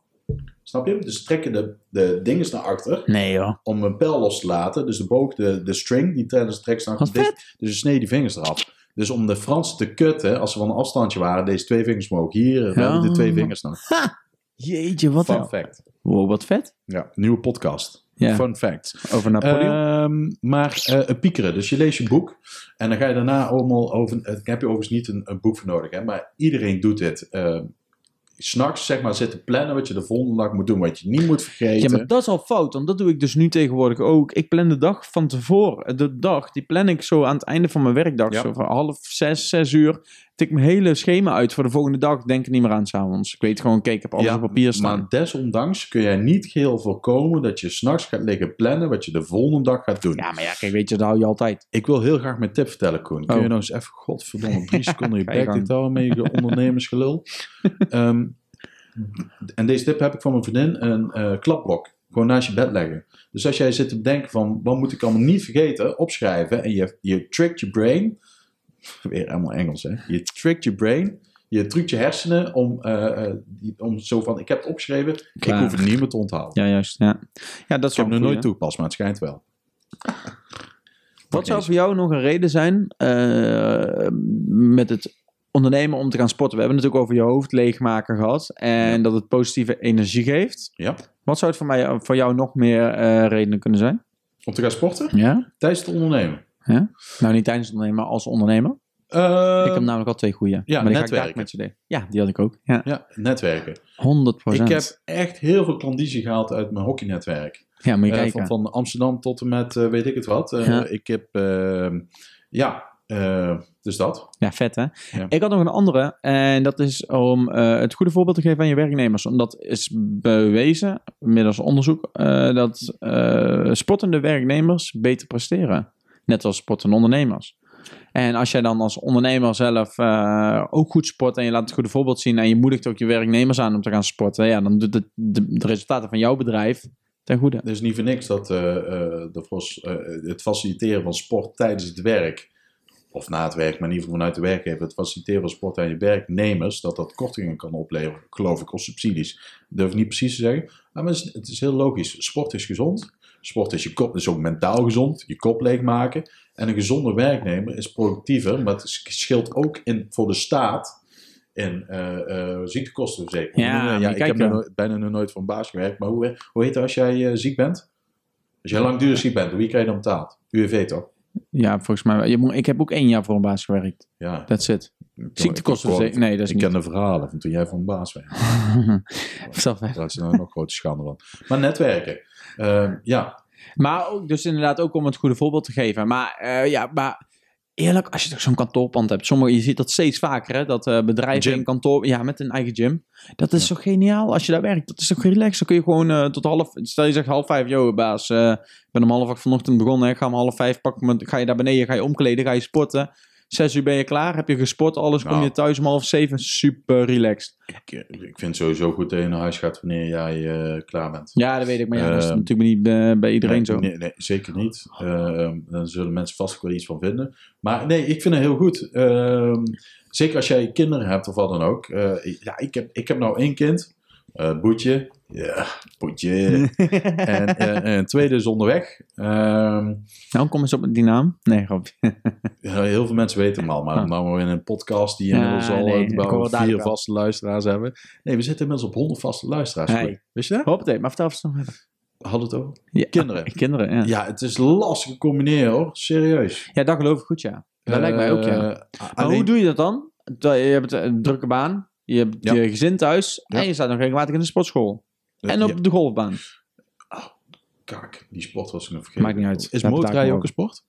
Speaker 4: Snap je? Dus ze trekken de, de dinges naar achter
Speaker 2: Nee, joh.
Speaker 4: om een pijl los te laten. Dus de boog, de, de string, die tijdens de trek staan.
Speaker 2: Wat
Speaker 4: Dus,
Speaker 2: vet.
Speaker 4: dus ze snee die vingers eraf. Dus om de Fransen te kutten, als ze van een afstandje waren, deze twee vingers omhoog. Hier eh, we
Speaker 2: Ja.
Speaker 4: hebben de twee vingers nog.
Speaker 2: Jeetje, wat nou?
Speaker 4: Fun
Speaker 2: hel.
Speaker 4: fact.
Speaker 2: Wow, wat vet.
Speaker 4: Ja, nieuwe podcast.
Speaker 2: Ja.
Speaker 4: Fun fact.
Speaker 2: Over Napoleon.
Speaker 4: Ehm, maar eh, een piekeren. Dus je leest je boek en dan ga je daarna allemaal over. eh, Daar heb je overigens niet een, een boek voor nodig, hè, maar iedereen doet dit. Ehm, s'nachts zeg maar zitten plannen wat je de volgende dag moet doen, wat je niet moet
Speaker 2: Ja,
Speaker 4: vergeten.
Speaker 2: maar dat is al fout, want dat doe ik dus nu tegenwoordig ook. Ik plan de dag van tevoren. De dag, die plan ik zo aan het einde van mijn werkdag.
Speaker 4: Ja.
Speaker 2: Zo van half zes, zes uur. Tik mijn hele schema uit voor de volgende dag. Ik Denk er niet meer aan s'avonds. Ik weet gewoon, oké, ik heb alles
Speaker 4: Ja,
Speaker 2: op papier staan.
Speaker 4: Maar desondanks kun jij niet geheel voorkomen dat je s'nachts gaat liggen plannen wat je de volgende dag gaat doen.
Speaker 2: Ja, maar ja, kijk, weet je, dat hou je altijd.
Speaker 4: Ik wil heel graag mijn tip vertellen, Koen. Kun
Speaker 2: Oh.
Speaker 4: je nou eens even, godverdomme, drie seconden je
Speaker 2: Ga je
Speaker 4: bek
Speaker 2: gang.
Speaker 4: dit houden met je ondernemersgelul. Ehm, en deze tip heb ik van mijn vriendin, een eh, klapblok. Gewoon naast je bed leggen. Dus als jij zit te bedenken van, wat moet ik allemaal niet vergeten, opschrijven. En je, je trickt je brain, weer helemaal Engels hè. Je trickt je brain, je truct je hersenen om, eh, eh, die- om zo van, ik heb het opgeschreven, ik
Speaker 2: Klaar.
Speaker 4: hoef het niet meer te onthouden.
Speaker 2: Ja, juist. Ja, ja dat
Speaker 4: Ik
Speaker 2: is
Speaker 4: heb hem
Speaker 2: wel
Speaker 4: nog
Speaker 2: een goeie.
Speaker 4: nooit toegepast, maar het schijnt wel.
Speaker 2: Wat zou voor jou nog een reden zijn eh, met het ondernemen om te gaan sporten? We hebben het natuurlijk over je hoofd leegmaken gehad. En dat het positieve energie geeft.
Speaker 4: Ja.
Speaker 2: Wat zou het voor, mij, voor jou nog meer eh, redenen kunnen zijn?
Speaker 4: Om te gaan sporten?
Speaker 2: Ja.
Speaker 4: Tijdens het ondernemen.
Speaker 2: Nou, niet tijdens het ondernemen, maar als ondernemer.
Speaker 4: Eh,
Speaker 2: ik heb namelijk al twee goede.
Speaker 4: ja,
Speaker 2: maar die ga ik
Speaker 4: netwerken.
Speaker 2: dadelijk met je delen. Ja, die had ik ook. Ja, 100%.
Speaker 4: Ja, netwerken. Ik heb echt heel veel klandizie gehaald uit mijn hockeynetwerk.
Speaker 2: ja, moet je
Speaker 4: Eh, van,
Speaker 2: kijken.
Speaker 4: van Amsterdam tot en met eh, weet ik het wat. Eh,
Speaker 2: Ja.
Speaker 4: Ik heb, eh, ja, eh, dus dat.
Speaker 2: Ja, vet hè.
Speaker 4: Ja.
Speaker 2: Ik had nog een andere. En dat is om eh, het goede voorbeeld te geven aan je werknemers. Omdat is bewezen, middels onderzoek, eh, dat eh, sportende werknemers beter presteren. Net als sportende ondernemers. En als jij dan als ondernemer zelf eh, ook goed sport en je laat het goede voorbeeld zien en je moedigt ook je werknemers aan om te gaan sporten, ja, dan doet het de, de resultaten van jouw bedrijf ten goede.
Speaker 4: Het is niet voor niks dat eh, eh, de Vos, eh, het faciliteren van sport tijdens het werk, of na het werk, maar in ieder geval vanuit de werkgever, het faciliteren van sport aan je werknemers, dat dat kortingen kan opleveren, geloof ik, of subsidies. durf ik niet precies te zeggen. Maar het is, het is heel logisch. Sport is gezond. Sport is, je kop, is ook mentaal gezond, je kop leegmaken. En een gezonde werknemer is productiever, maar het is- scheelt ook in, voor de staat in eh, eh, ziektekostenverzekering.
Speaker 2: Ja,
Speaker 4: Ik bedoel,
Speaker 2: maar
Speaker 4: ik
Speaker 2: kijk
Speaker 4: heb nog
Speaker 2: dan.
Speaker 4: nooit- bijna nog nooit van baas gewerkt, maar hoe, hoe heet het als jij eh, ziek bent? Als jij langdurig ziek bent, wie krijg je dan betaald? UWV toch?
Speaker 2: Ja, volgens mij. wel. Je moet- Ik heb ook één jaar voor een baas gewerkt.
Speaker 4: Ja.
Speaker 2: That's it. Ziektekosten. Nee, dat is
Speaker 4: Ik
Speaker 2: niet.
Speaker 4: ken de verhalen van toen jij van baas werd.
Speaker 2: Zelf weg.
Speaker 4: Daar is nou nog grote schande van. Maar netwerken. Eh, ja,
Speaker 2: Maar ook, dus inderdaad ook om het goede voorbeeld te geven. Maar eh, ja, maar eerlijk, als je toch zo'n kantoorpand hebt. Sommige, je ziet dat steeds vaker, hè. Dat eh, bedrijven
Speaker 4: Gym.
Speaker 2: een kantoor... Ja, met een eigen gym. Dat is
Speaker 4: Ja.
Speaker 2: zo geniaal als je daar werkt. Dat is toch relaxed. Dan kun je gewoon eh, tot half... Stel je zegt half vijf, yo baas. eh, ik ben om half acht vanochtend begonnen. hè. Ik ga om half vijf pakken. mijn- Ga je daar beneden, ga je omkleden, ga je sporten. Zes uur ben je klaar, heb je gesport, alles. Kom
Speaker 4: Nou.
Speaker 2: je thuis om half zeven, super relaxed.
Speaker 4: ik, ik vind het sowieso goed dat je naar huis gaat wanneer jij eh, klaar bent.
Speaker 2: Ja, dat weet ik. Maar ja, dat is
Speaker 4: Ehm,
Speaker 2: natuurlijk niet eh, bij iedereen
Speaker 4: nee,
Speaker 2: zo.
Speaker 4: Nee, nee, zeker niet. Ehm, dan zullen mensen vast ook wel iets van vinden. Maar nee, ik vind het heel goed. Ehm, zeker als jij kinderen hebt of wat dan ook. Eh, ja, ik heb, ik heb nou één kind. Eh, boetje. Ja, boetje. en, eh, en een tweede is onderweg. Ehm,
Speaker 2: Nou, kom eens op die naam. Nee, grapje.
Speaker 4: ja, heel veel mensen weten hem al, maar
Speaker 2: Ah.
Speaker 4: nou maar in een podcast die
Speaker 2: Ja,
Speaker 4: inmiddels al
Speaker 2: nee,
Speaker 4: eh,
Speaker 2: ik
Speaker 4: waar we
Speaker 2: hoor het
Speaker 4: vier
Speaker 2: dadelijk wel.
Speaker 4: vaste luisteraars hebben. Nee, we zitten inmiddels op 100 vaste luisteraars.
Speaker 2: Hey.
Speaker 4: Koen. Wist je dat?
Speaker 2: Hoppatee, maar vertel eens nog even.
Speaker 4: Hadden we het over?
Speaker 2: Ja.
Speaker 4: Kinderen.
Speaker 2: Kinderen, ja. ja.
Speaker 4: Ja, het is lastig te combineren hoor. Serieus.
Speaker 2: dat geloof ik goed, ja. Dat lijkt mij ook, ja. Maar
Speaker 4: Maar
Speaker 2: hoe doe je dat dan? Terwijl Je hebt een drukke baan, je hebt
Speaker 4: Ja.
Speaker 2: je gezin thuis
Speaker 4: Ja.
Speaker 2: en je staat nog regelmatig in de sportschool. En op de golfbaan.
Speaker 4: Kak, die sport was ik nog vergeten.
Speaker 2: Maakt niet uit.
Speaker 4: Is
Speaker 2: Daar betaal ik
Speaker 4: motorrijden
Speaker 2: me
Speaker 4: ook een sport?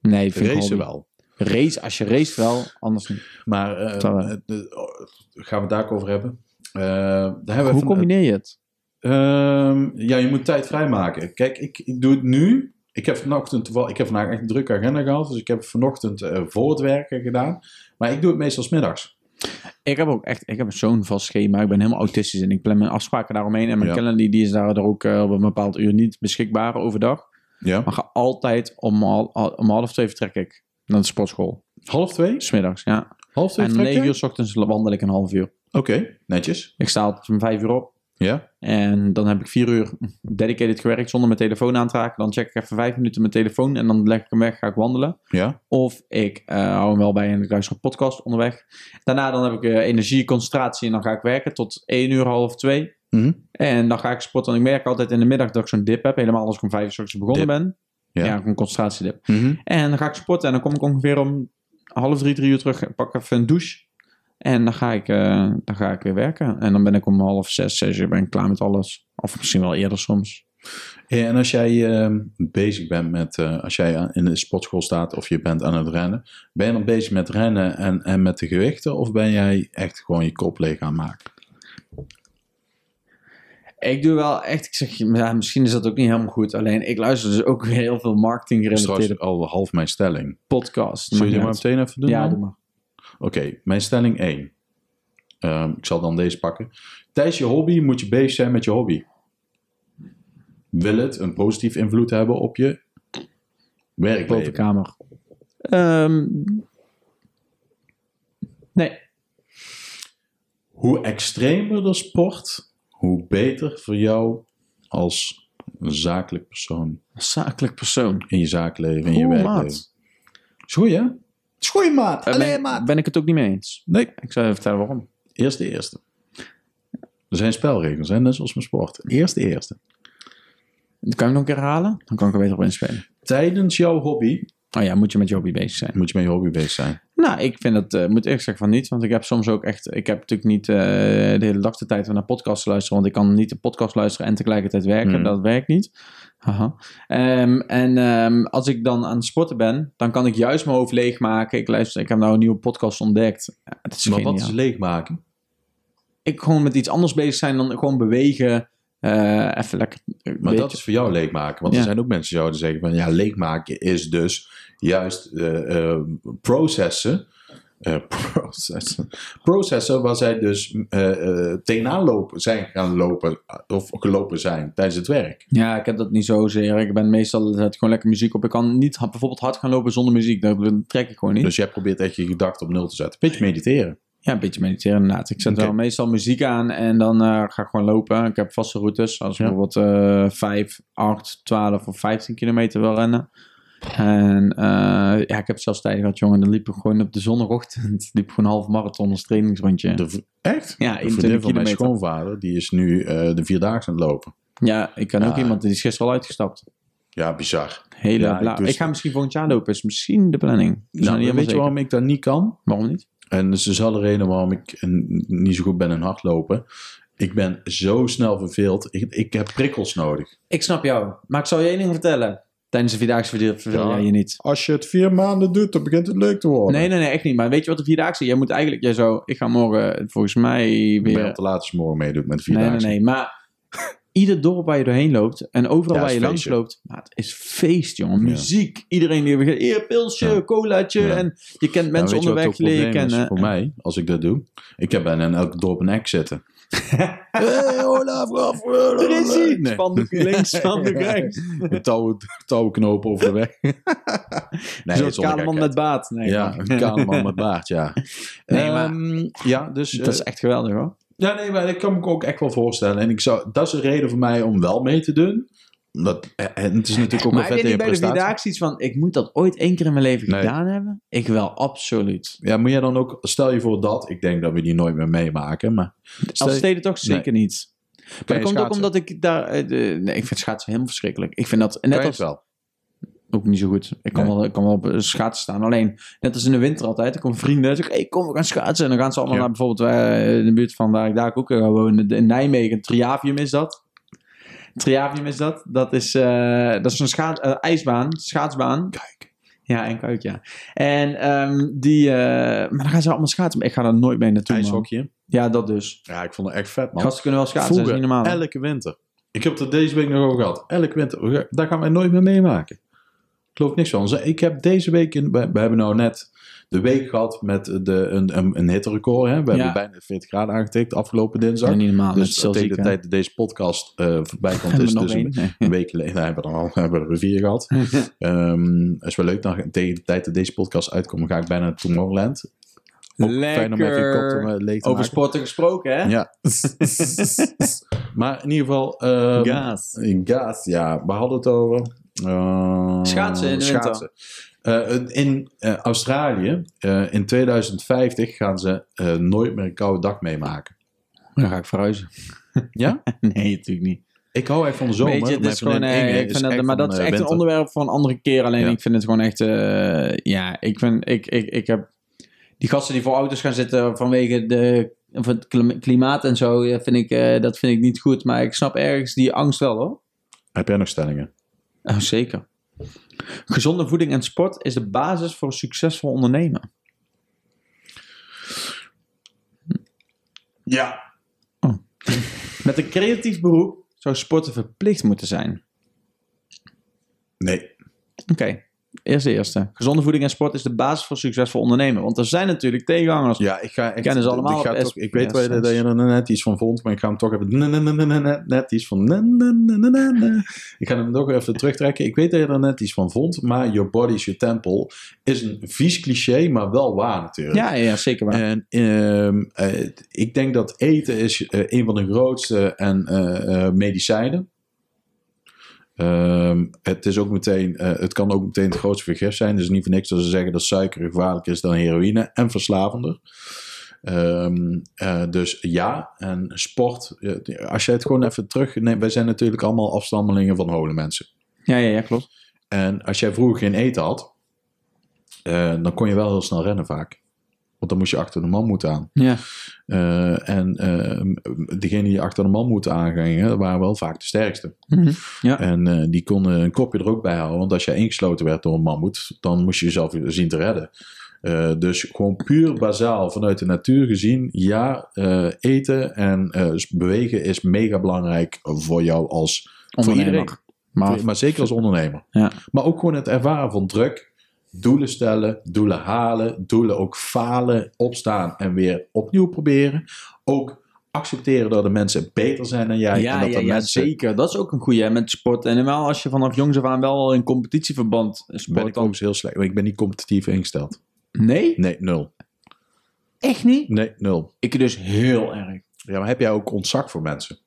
Speaker 2: Nee, vind ik
Speaker 4: Racen
Speaker 2: hobby.
Speaker 4: wel.
Speaker 2: Race, als je race wel, anders niet.
Speaker 4: Maar eh,
Speaker 2: Dat wel.
Speaker 4: eh, de- oh, gaan we het daar ook over hebben. Eh, daar hebben we
Speaker 2: Hoe
Speaker 4: van-
Speaker 2: combineer je het?
Speaker 4: Ehm, ja, je moet tijd vrijmaken. Kijk, ik, ik doe het nu. Ik heb vanochtend toevallig, ik heb vandaag echt een drukke agenda gehad. Dus ik heb vanochtend eh, voor het werken gedaan. Maar ik doe het meestal 's middags.
Speaker 2: Ik heb ook echt, ik heb zo'n vast schema. Ik ben helemaal autistisch en ik plan mijn afspraken daaromheen. En mijn
Speaker 4: Ja.
Speaker 2: calendar die is daar ook eh, op een bepaald uur niet beschikbaar overdag.
Speaker 4: Ja.
Speaker 2: Maar ga altijd om, hal- om half twee vertrek ik naar de sportschool.
Speaker 4: Half twee?
Speaker 2: Smiddags, ja.
Speaker 4: Half twee
Speaker 2: En
Speaker 4: vertrek
Speaker 2: om
Speaker 4: jij?
Speaker 2: negen uur 's ochtends wandel ik een half uur.
Speaker 4: Oké, netjes.
Speaker 2: Ik sta altijd om vijf uur op.
Speaker 4: Ja.
Speaker 2: En dan heb ik vier uur dedicated gewerkt zonder mijn telefoon aan te raken. Dan check ik even vijf minuten mijn telefoon en dan leg ik hem weg, ga ik wandelen.
Speaker 4: Ja.
Speaker 2: Of ik eh, hou hem wel bij en ik luister een podcast onderweg. Daarna dan heb ik eh, energie, concentratie en dan ga ik werken tot één uur, half twee.
Speaker 4: Mhm.
Speaker 2: En dan ga ik sporten. En ik merk altijd in de middag dat ik zo'n dip heb. Helemaal als ik om vijf uur 's ochtends begonnen
Speaker 4: Dip.
Speaker 2: ben.
Speaker 4: Ja.
Speaker 2: Ja, ja een concentratiedip. En dan ga ik sporten en dan kom ik ongeveer om half drie, drie uur terug. Pak even een douche. En dan ga, ik, eh, dan ga ik weer werken. En dan ben ik om half zes, zes uur ben ik klaar met alles. Of misschien wel eerder soms.
Speaker 4: Ja, en als jij ehm, bezig bent met, eh, als jij aan- in de sportschool staat of je bent aan het rennen, ben je dan bezig met rennen en, en met de gewichten of ben jij echt gewoon je kop leeg aan het maken?
Speaker 2: Ik doe wel echt, ik zeg, ja, misschien is dat ook niet helemaal goed. Alleen ik luister dus ook weer heel veel marketing
Speaker 4: Dat is trouwens
Speaker 2: gerelateerde
Speaker 4: al half mijn stelling.
Speaker 2: podcasts.
Speaker 4: Zul je die
Speaker 2: Maakt
Speaker 4: maar
Speaker 2: niet
Speaker 4: meteen even
Speaker 2: uit.
Speaker 4: doen?
Speaker 2: Ja,
Speaker 4: dan?
Speaker 2: doe maar.
Speaker 4: Oké, mijn stelling 1. Ehm, ik zal dan deze pakken. Tijdens je hobby moet je bezig zijn met je hobby. Wil het een positief invloed hebben op je werkleven?
Speaker 2: bovenkamer. Ehm, nee.
Speaker 4: hoe extremer de sport, hoe beter voor jou als zakelijk persoon
Speaker 2: Als zakelijk persoon.
Speaker 4: in je zaakleven, in je
Speaker 2: Oeh,
Speaker 4: werkleven.
Speaker 2: maat.
Speaker 4: Is goed, hè? Is goed, maat.
Speaker 2: Eh,
Speaker 4: Allee,
Speaker 2: ben,
Speaker 4: maat.
Speaker 2: ben ik het ook niet mee eens.
Speaker 4: Nee,
Speaker 2: Ik zou even vertellen waarom.
Speaker 4: eerst de eerste. Er zijn spelregels, hè? net zoals mijn sport. Eerst de eerste.
Speaker 2: Dan kan ik nog een keer herhalen. Dan kan ik er beter op inspelen.
Speaker 4: Tijdens jouw hobby
Speaker 2: Oh ja, moet je met je hobby bezig zijn.
Speaker 4: moet je met je hobby bezig zijn.
Speaker 2: Nou, ik vind dat, eh, moet ik zeggen van niet. Want ik heb soms ook echt, ik heb natuurlijk niet eh, de hele dag de tijd om naar podcasts te luisteren. Want ik kan niet de podcast luisteren en tegelijkertijd werken.
Speaker 4: Mm.
Speaker 2: Dat werkt niet. Haha. Ehm, en ehm, als ik dan aan het sporten ben, dan kan ik juist mijn hoofd leegmaken. Ik luister, ik heb nou een nieuwe podcast ontdekt. Ja, dat is
Speaker 4: Maar
Speaker 2: geniaal.
Speaker 4: wat is leegmaken?
Speaker 2: ik gewoon met iets anders bezig zijn dan gewoon bewegen. eh, even lekker.
Speaker 4: Maar
Speaker 2: weet
Speaker 4: dat is voor jou leegmaken. Want
Speaker 2: Ja.
Speaker 4: er zijn ook mensen die zouden zeggen van... Ja, leegmaken is dus juist eh, eh, processen... eh, processen, processen waar zij dus eh, eh, tegenaan lopen, zijn gaan lopen eh, of gelopen zijn tijdens het werk.
Speaker 2: Ja, ik heb dat niet zozeer. Ik ben meestal zet ik gewoon lekker muziek op. Ik kan niet ha- bijvoorbeeld hard gaan lopen zonder muziek. Dat dat trek ik gewoon niet.
Speaker 4: Dus jij probeert echt je gedachten op nul te zetten. Beetje mediteren.
Speaker 2: Ja, een beetje mediteren inderdaad. Ik zet
Speaker 4: Oké.
Speaker 2: wel meestal muziek aan en dan eh, ga ik gewoon lopen. Ik heb vaste routes. Als ik
Speaker 4: Ja.
Speaker 2: bijvoorbeeld eh 5, 8, 12 of 15 kilometer wil rennen. En eh, ja, ik heb zelfs tijden gehad, jongen. Dan liep ik gewoon op de zondagochtend. liep ik gewoon een half marathon als trainingsrondje.
Speaker 4: De v- echt?
Speaker 2: Ja,
Speaker 4: De
Speaker 2: 21
Speaker 4: vriendin van mijn
Speaker 2: kilometer.
Speaker 4: schoonvader, die is nu eh, de vierdaagse aan het lopen.
Speaker 2: Ja, ik ken ook
Speaker 4: Ja.
Speaker 2: iemand die is gisteren al uitgestapt.
Speaker 4: Ja, bizar.
Speaker 2: Hele
Speaker 4: Ja, ik
Speaker 2: bla- ik,
Speaker 4: doe het-
Speaker 2: ga misschien volgend jaar lopen. Is misschien de planning. Is nog
Speaker 4: Nou,
Speaker 2: niet
Speaker 4: weet
Speaker 2: helemaal
Speaker 4: je waarom ik dat niet kan?
Speaker 2: zeker. Waarom niet?
Speaker 4: En dat is dus wel de reden waarom ik een- niet zo goed ben in hardlopen. Ik ben zo snel verveeld. Ik, ik heb prikkels nodig.
Speaker 2: Ik snap jou. Maar ik zal je één ding vertellen. Tijdens de Vierdaagse verdeel- verveel
Speaker 4: Ja.
Speaker 2: jij je niet.
Speaker 4: Als je het vier maanden doet, dan begint het leuk te worden.
Speaker 2: Nee, nee, nee, echt niet. Maar weet je wat de Vierdaagse... Jij moet eigenlijk... Jij zou... Ik ga morgen eh, volgens mij
Speaker 4: Ik
Speaker 2: weer...
Speaker 4: ben al te laat als je morgen meedoet met vier
Speaker 2: nee, nee,
Speaker 4: dagen.
Speaker 2: nee. Maar ieder dorp waar je doorheen loopt... En overal
Speaker 4: Ja,
Speaker 2: waar
Speaker 4: is
Speaker 2: je langs
Speaker 4: feestje.
Speaker 2: loopt... Maar het is feest, jongen. Muziek. Iedereen die... begint, Hier, pilsje,
Speaker 4: Ja.
Speaker 2: colaatje.
Speaker 4: Ja.
Speaker 2: En je kent
Speaker 4: Ja,
Speaker 2: mensen
Speaker 4: Nou, weet je wat
Speaker 2: onderweg
Speaker 4: ook
Speaker 2: die je
Speaker 4: probleem is
Speaker 2: kennen.
Speaker 4: Voor mij, als ik dat doe. Ik heb bijna in elk dorp een act zitten. hey, Olaf, Olaf, Olaf.
Speaker 2: Er is hij!
Speaker 4: Nee.
Speaker 2: Spandoek links, spandoek
Speaker 4: Ja.
Speaker 2: rechts.
Speaker 4: Een touw, touwknoop over de weg. nee,
Speaker 2: Zo'n
Speaker 4: zonder
Speaker 2: kaleman
Speaker 4: gekheid.
Speaker 2: met baat. Nee,
Speaker 4: Ja, een kamerman met baard, ja.
Speaker 2: Nee, maar-
Speaker 4: Ehm, ja, dus...
Speaker 2: Dat is echt geweldig hoor.
Speaker 4: Ja, nee, maar dat kan ik me ook echt wel voorstellen. En ik zou, dat is een reden voor mij om wel mee te doen. Omdat, en het is natuurlijk ook
Speaker 2: Maar
Speaker 4: een
Speaker 2: heb
Speaker 4: vette
Speaker 2: je niet bij de
Speaker 4: prestatie.
Speaker 2: Vierdaagse iets van... ik moet dat ooit één keer in mijn leven
Speaker 4: Nee.
Speaker 2: gedaan hebben? Ik wel, absoluut.
Speaker 4: Ja, moet jij dan ook, stel je voor dat, ik denk dat we die nooit meer meemaken, maar... Stel
Speaker 2: Als
Speaker 4: je-
Speaker 2: steden toch
Speaker 4: Nee.
Speaker 2: zeker niet. Maar dat
Speaker 4: je
Speaker 2: komt ook
Speaker 4: schaatsen?
Speaker 2: omdat ik daar... eh, de- nee, ik vind schaatsen helemaal verschrikkelijk. Ik vind dat net
Speaker 4: kan je
Speaker 2: als...
Speaker 4: het wel.
Speaker 2: Ook niet zo goed. Ik kan,
Speaker 4: Nee.
Speaker 2: wel, ik kan wel op eh, schaatsen staan. Alleen, net als in de winter altijd. Er komen vrienden en zeggen... Hey, kom, we gaan schaatsen. En dan gaan ze allemaal
Speaker 4: Ja.
Speaker 2: naar bijvoorbeeld... eh, in de buurt van waar ik daar ook eh, woon. In Nijmegen. Triavium is dat. Triavium is dat. Dat is, eh, dat is een schaats, eh, ijsbaan. Schaatsbaan.
Speaker 4: Kijk.
Speaker 2: Ja, en kuik, ja. En ehm, die... eh, maar dan gaan ze allemaal schaatsen. Maar ik ga daar nooit mee naartoe, man.
Speaker 4: Ijshokje.
Speaker 2: Ja, dat dus.
Speaker 4: Ja, ik vond het echt vet, man.
Speaker 2: Gasten kunnen wel schaatsen, dat is niet
Speaker 4: Vroeger,
Speaker 2: normaal. hè?
Speaker 4: elke winter. Ik heb het er deze week nog over gehad. Elke winter. we gaan- Daar gaan wij nooit meer meemaken. Ik geloof niks van. Ze- Ik heb deze week, in, we, we hebben nou net de week gehad met de, een, een, een hitterecord. Hè? We
Speaker 2: Ja.
Speaker 4: hebben bijna 40 graden aangetikt afgelopen dinsdag.
Speaker 2: Ja, niet normaal.
Speaker 4: dus
Speaker 2: Dus
Speaker 4: tegen de tijd dat deze podcast eh, voorbij komt,
Speaker 2: Hebben
Speaker 4: is het
Speaker 2: we nog
Speaker 4: dus een,
Speaker 2: één? Nee.
Speaker 4: een week geleden. Nou, hebben we er al hebben we er vier gehad. Ehm, dat is wel leuk. Dan, tegen de tijd dat deze podcast uitkomt, ga ik bijna naar Tomorrowland. Ook Fijn om even je kop te,
Speaker 2: Lekker.
Speaker 4: eh, leeg te
Speaker 2: Over
Speaker 4: maken.
Speaker 2: sporten gesproken, hè?
Speaker 4: Ja. maar in ieder geval. ehm,
Speaker 2: Gaas.
Speaker 4: Gaas, ja. We hadden het over. eh,
Speaker 2: Schaatsen in de winter.
Speaker 4: Eh, in eh, Australië, eh, in 2050, gaan ze eh, nooit meer een koude dag meemaken.
Speaker 2: Dan ga ik verhuizen.
Speaker 4: Ja?
Speaker 2: Nee, natuurlijk niet.
Speaker 4: Ik hou echt van de zomer.
Speaker 2: Weet je, het
Speaker 4: mijn
Speaker 2: is gewoon,
Speaker 4: vriendin
Speaker 2: eh,
Speaker 4: Inge
Speaker 2: ik vind dat,
Speaker 4: echt
Speaker 2: maar
Speaker 4: van,
Speaker 2: dat is
Speaker 4: eh,
Speaker 2: echt een
Speaker 4: winter.
Speaker 2: onderwerp voor een andere keer. Alleen
Speaker 4: Ja.
Speaker 2: ik vind het gewoon echt, eh, ja, ik vind, ik, ik, ik heb die gasten die voor auto's gaan zitten vanwege de, of het klim- klimaat en zo, ja, vind ik, eh, dat vind ik niet goed. Maar ik snap ergens die angst wel hoor.
Speaker 4: Heb jij nog stellingen?
Speaker 2: Oh, zeker. Gezonde voeding en sport is de basis voor een succesvol ondernemen.
Speaker 4: Ja.
Speaker 2: Met een creatief beroep zou sporten verplicht moeten zijn.
Speaker 4: Nee.
Speaker 2: Oké, eerst de eerste. Gezonde voeding en sport is de basis voor succesvol ondernemen. Want er zijn natuurlijk tegenhangers.
Speaker 4: Ja, ik ga echt...
Speaker 2: Kennen ze allemaal
Speaker 4: ik, ga
Speaker 2: op
Speaker 4: toch,
Speaker 2: SP,
Speaker 4: ik weet wel
Speaker 2: ja,
Speaker 4: dat je er net iets van vond, maar ik ga hem toch even... net- net- net- net- Net iets van... net- net- net- net- net. Ik ga hem toch even terugtrekken. Ik weet dat je er net iets van vond, maar Your Body is Your Temple is een vies cliché, maar wel waar natuurlijk.
Speaker 2: Ja, ja, zeker waar.
Speaker 4: En ehm, eh, ik denk dat eten is eh, een van de grootste en eh, eh, medicijnen. Ehm, het, is ook meteen, eh, het kan ook meteen het grootste vergif zijn. Dus niet voor niks dat ze zeggen dat suiker gevaarlijker is dan heroïne en verslavender. Ehm, eh, dus ja, en sport. eh, als je het gewoon even terug. Nee, wij zijn natuurlijk allemaal afstammelingen van holen mensen.
Speaker 2: Ja, ja, ja, klopt.
Speaker 4: En als jij vroeger geen eten had, eh, dan kon je wel heel snel rennen vaak. Want dan moest je achter de man moeten aan.
Speaker 2: Ja.
Speaker 4: Eh, en eh degene die achter de man moeten aangingen, waren wel vaak de sterkste.
Speaker 2: Mhm.
Speaker 4: En eh, die konden een kopje er ook bij houden. Want als jij ingesloten werd door een mammoet, dan moest je jezelf weer zien te redden. Eh, dus gewoon puur bazaal vanuit de natuur gezien, ja, eh, eten en eh, bewegen is mega belangrijk voor jou als voor
Speaker 2: Ondernemer.
Speaker 4: iedereen.
Speaker 2: Maar,
Speaker 4: Maar zeker als ondernemer.
Speaker 2: Ja.
Speaker 4: Maar ook gewoon het ervaren van druk. Doelen stellen, doelen halen, doelen ook falen, opstaan en weer opnieuw proberen. Ook accepteren dat de mensen beter zijn dan jij.
Speaker 2: ja,
Speaker 4: en dat
Speaker 2: ja,
Speaker 4: de
Speaker 2: ja,
Speaker 4: mensen,
Speaker 2: zeker. Dat is ook een goede met sport. En helemaal als je vanaf jongs af aan wel in competitieverband
Speaker 4: Ben
Speaker 2: sport
Speaker 4: ik
Speaker 2: dan...
Speaker 4: ook heel slecht. Ik ben niet competitief ingesteld.
Speaker 2: Nee?
Speaker 4: Nee, nul.
Speaker 2: Echt niet?
Speaker 4: Nee, nul.
Speaker 2: Ik dus heel erg.
Speaker 4: Ja, maar heb jij ook ontzag voor mensen?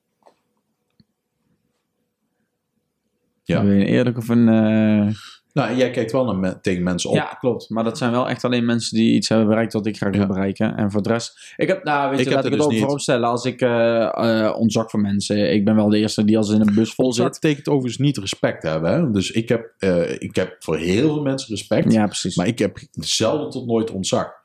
Speaker 4: Ja.
Speaker 2: Wil je een eerlijk of een... eh,
Speaker 4: Nou, jij kijkt wel naar me- tegen mensen op.
Speaker 2: Ja, klopt. Maar dat zijn wel echt alleen mensen die iets hebben bereikt wat ik graag
Speaker 4: Ja.
Speaker 2: wil bereiken. En voor de rest... Ik heb, nou, weet
Speaker 4: Ik
Speaker 2: je,
Speaker 4: heb
Speaker 2: laat
Speaker 4: dat
Speaker 2: ik het
Speaker 4: dus
Speaker 2: ook
Speaker 4: niet.
Speaker 2: vooropstellen. Als ik eh, eh, ontzak voor mensen. Ik ben wel de eerste die als in een bus vol
Speaker 4: Ontzag
Speaker 2: zit.
Speaker 4: betekent overigens niet respect hebben. Hè? Dus ik heb, eh, ik heb voor heel veel mensen respect.
Speaker 2: Ja, precies.
Speaker 4: Maar ik heb zelden tot nooit ontzag.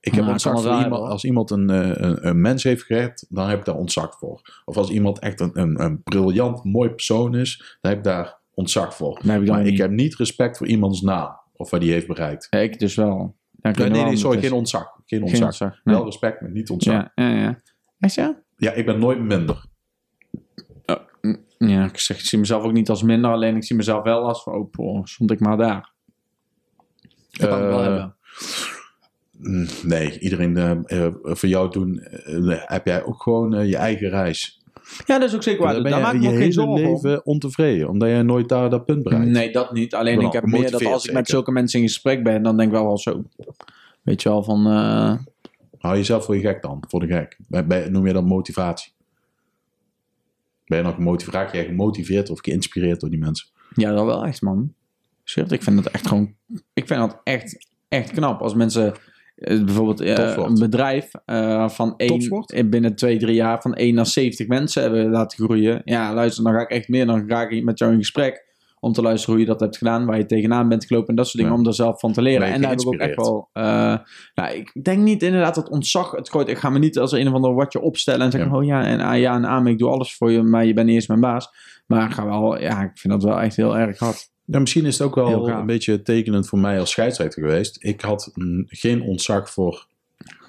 Speaker 4: Ik heb
Speaker 2: Ah,
Speaker 4: ontzag
Speaker 2: kan
Speaker 4: voor
Speaker 2: wel zijn,
Speaker 4: iemand,
Speaker 2: hoor.
Speaker 4: als iemand een, eh, een, een mens heeft gered, dan heb ik daar ontzag voor. Of als iemand echt een, een, een briljant, mooi persoon is, dan heb ik daar ontzag voor.
Speaker 2: Nee, heb ik dan
Speaker 4: maar ik
Speaker 2: niet.
Speaker 4: heb niet respect voor iemands naam of wat die heeft bereikt.
Speaker 2: Ja, ik dus wel. Ja,
Speaker 4: Nee,
Speaker 2: ik weet
Speaker 4: nee,
Speaker 2: wel
Speaker 4: nee,
Speaker 2: wat
Speaker 4: sorry,
Speaker 2: het is.
Speaker 4: geen ontzag. Geen ontzag.
Speaker 2: ontzag, nee.
Speaker 4: Wel respect, maar niet ontzag. Ja.
Speaker 2: Ja, ja, ja. Echt ja?
Speaker 4: ik ben nooit minder.
Speaker 2: Ja, ik, zeg, ik zie mezelf ook niet als minder. Alleen ik zie mezelf wel als van... Oh, poh, stond ik maar daar. Dat kan ik wel
Speaker 4: Eh,
Speaker 2: hebben.
Speaker 4: mm, Nee, iedereen eh, eh, voor jou doen, eh, heb jij ook gewoon eh, je eigen reis.
Speaker 2: Ja, dat is ook zeker waar.
Speaker 4: dan
Speaker 2: Daar maak ik me
Speaker 4: je
Speaker 2: ook geen
Speaker 4: hele
Speaker 2: zorgen om.
Speaker 4: leven ontevreden, omdat jij nooit daar dat punt bereikt.
Speaker 2: Nee, dat niet. Alleen
Speaker 4: Wel,
Speaker 2: ik heb meer dat
Speaker 4: gemotiveerd
Speaker 2: als ik met
Speaker 4: zeker.
Speaker 2: zulke mensen in gesprek ben, dan denk ik wel wel zo. Weet je wel, van... eh,
Speaker 4: Hou jezelf voor je gek dan, voor de gek. Ben- ben- noem je dat motivatie? Ben je nog gemotiveerd? Raak jij gemotiveerd of geïnspireerd door die mensen?
Speaker 2: ja, dat wel echt, man. Shit, ik vind dat echt gewoon... Ik vind dat echt, echt knap. Als mensen eh, bijvoorbeeld eh,
Speaker 4: Topsport.
Speaker 2: een bedrijf eh, van één,
Speaker 4: Topsport?
Speaker 2: eh, binnen twee, drie jaar van 1 naar 70 mensen hebben laten groeien. Ja, luister, dan ga ik echt meer. Dan ga ik met jou in gesprek om te luisteren hoe je dat hebt gedaan, waar je tegenaan bent gelopen en dat soort dingen,
Speaker 4: Ja.
Speaker 2: om daar zelf van te leren.
Speaker 4: Ben je
Speaker 2: En daar heb ik ook echt
Speaker 4: geïnspireerd?
Speaker 2: wel... eh, nou, ik denk niet inderdaad dat ontzag het gooit. Ik ga me niet als een of ander watje opstellen en zeggen:
Speaker 4: Ja.
Speaker 2: Oh ja, en ah, ja, en ah, maar ik doe alles voor je, maar je bent niet eens mijn baas. Maar ik ga wel, ja, ik vind dat wel echt heel erg hard.
Speaker 4: Ja, misschien is het ook
Speaker 2: Heel
Speaker 4: wel
Speaker 2: gaaf.
Speaker 4: een beetje tekenend voor mij als scheidsrechter geweest. Ik had mm, geen ontzag voor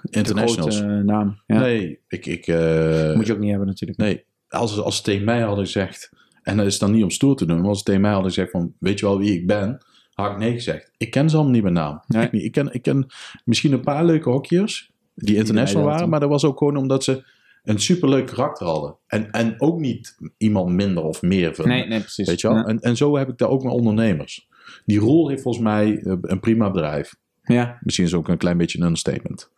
Speaker 4: internationals.
Speaker 2: De grote, eh, naam. Ja.
Speaker 4: Nee, ik, ik, eh,
Speaker 2: Moet je ook niet hebben, natuurlijk.
Speaker 4: nee. Als, als ze tegen mij hadden gezegd, en dat is dan niet om stoer te doen, maar als ze tegen mij hadden gezegd van, weet je wel wie ik ben? Had ik nee gezegd. Ik ken ze allemaal niet bij naam.
Speaker 2: Nee.
Speaker 4: Echt niet. Ik, ken, ik ken misschien een paar leuke hockeyers, die international
Speaker 2: Nederland,
Speaker 4: waren,
Speaker 2: hè?
Speaker 4: maar dat was ook gewoon omdat ze een superleuk karakter hadden. En, en ook niet iemand minder of meer. vinden.
Speaker 2: Nee, nee, precies.
Speaker 4: Weet je wel?
Speaker 2: Ja.
Speaker 4: En, en zo heb ik daar ook mijn ondernemers. Die rol heeft volgens mij eh, een prima bedrijf.
Speaker 2: Ja.
Speaker 4: Misschien is het ook een klein beetje een understatement.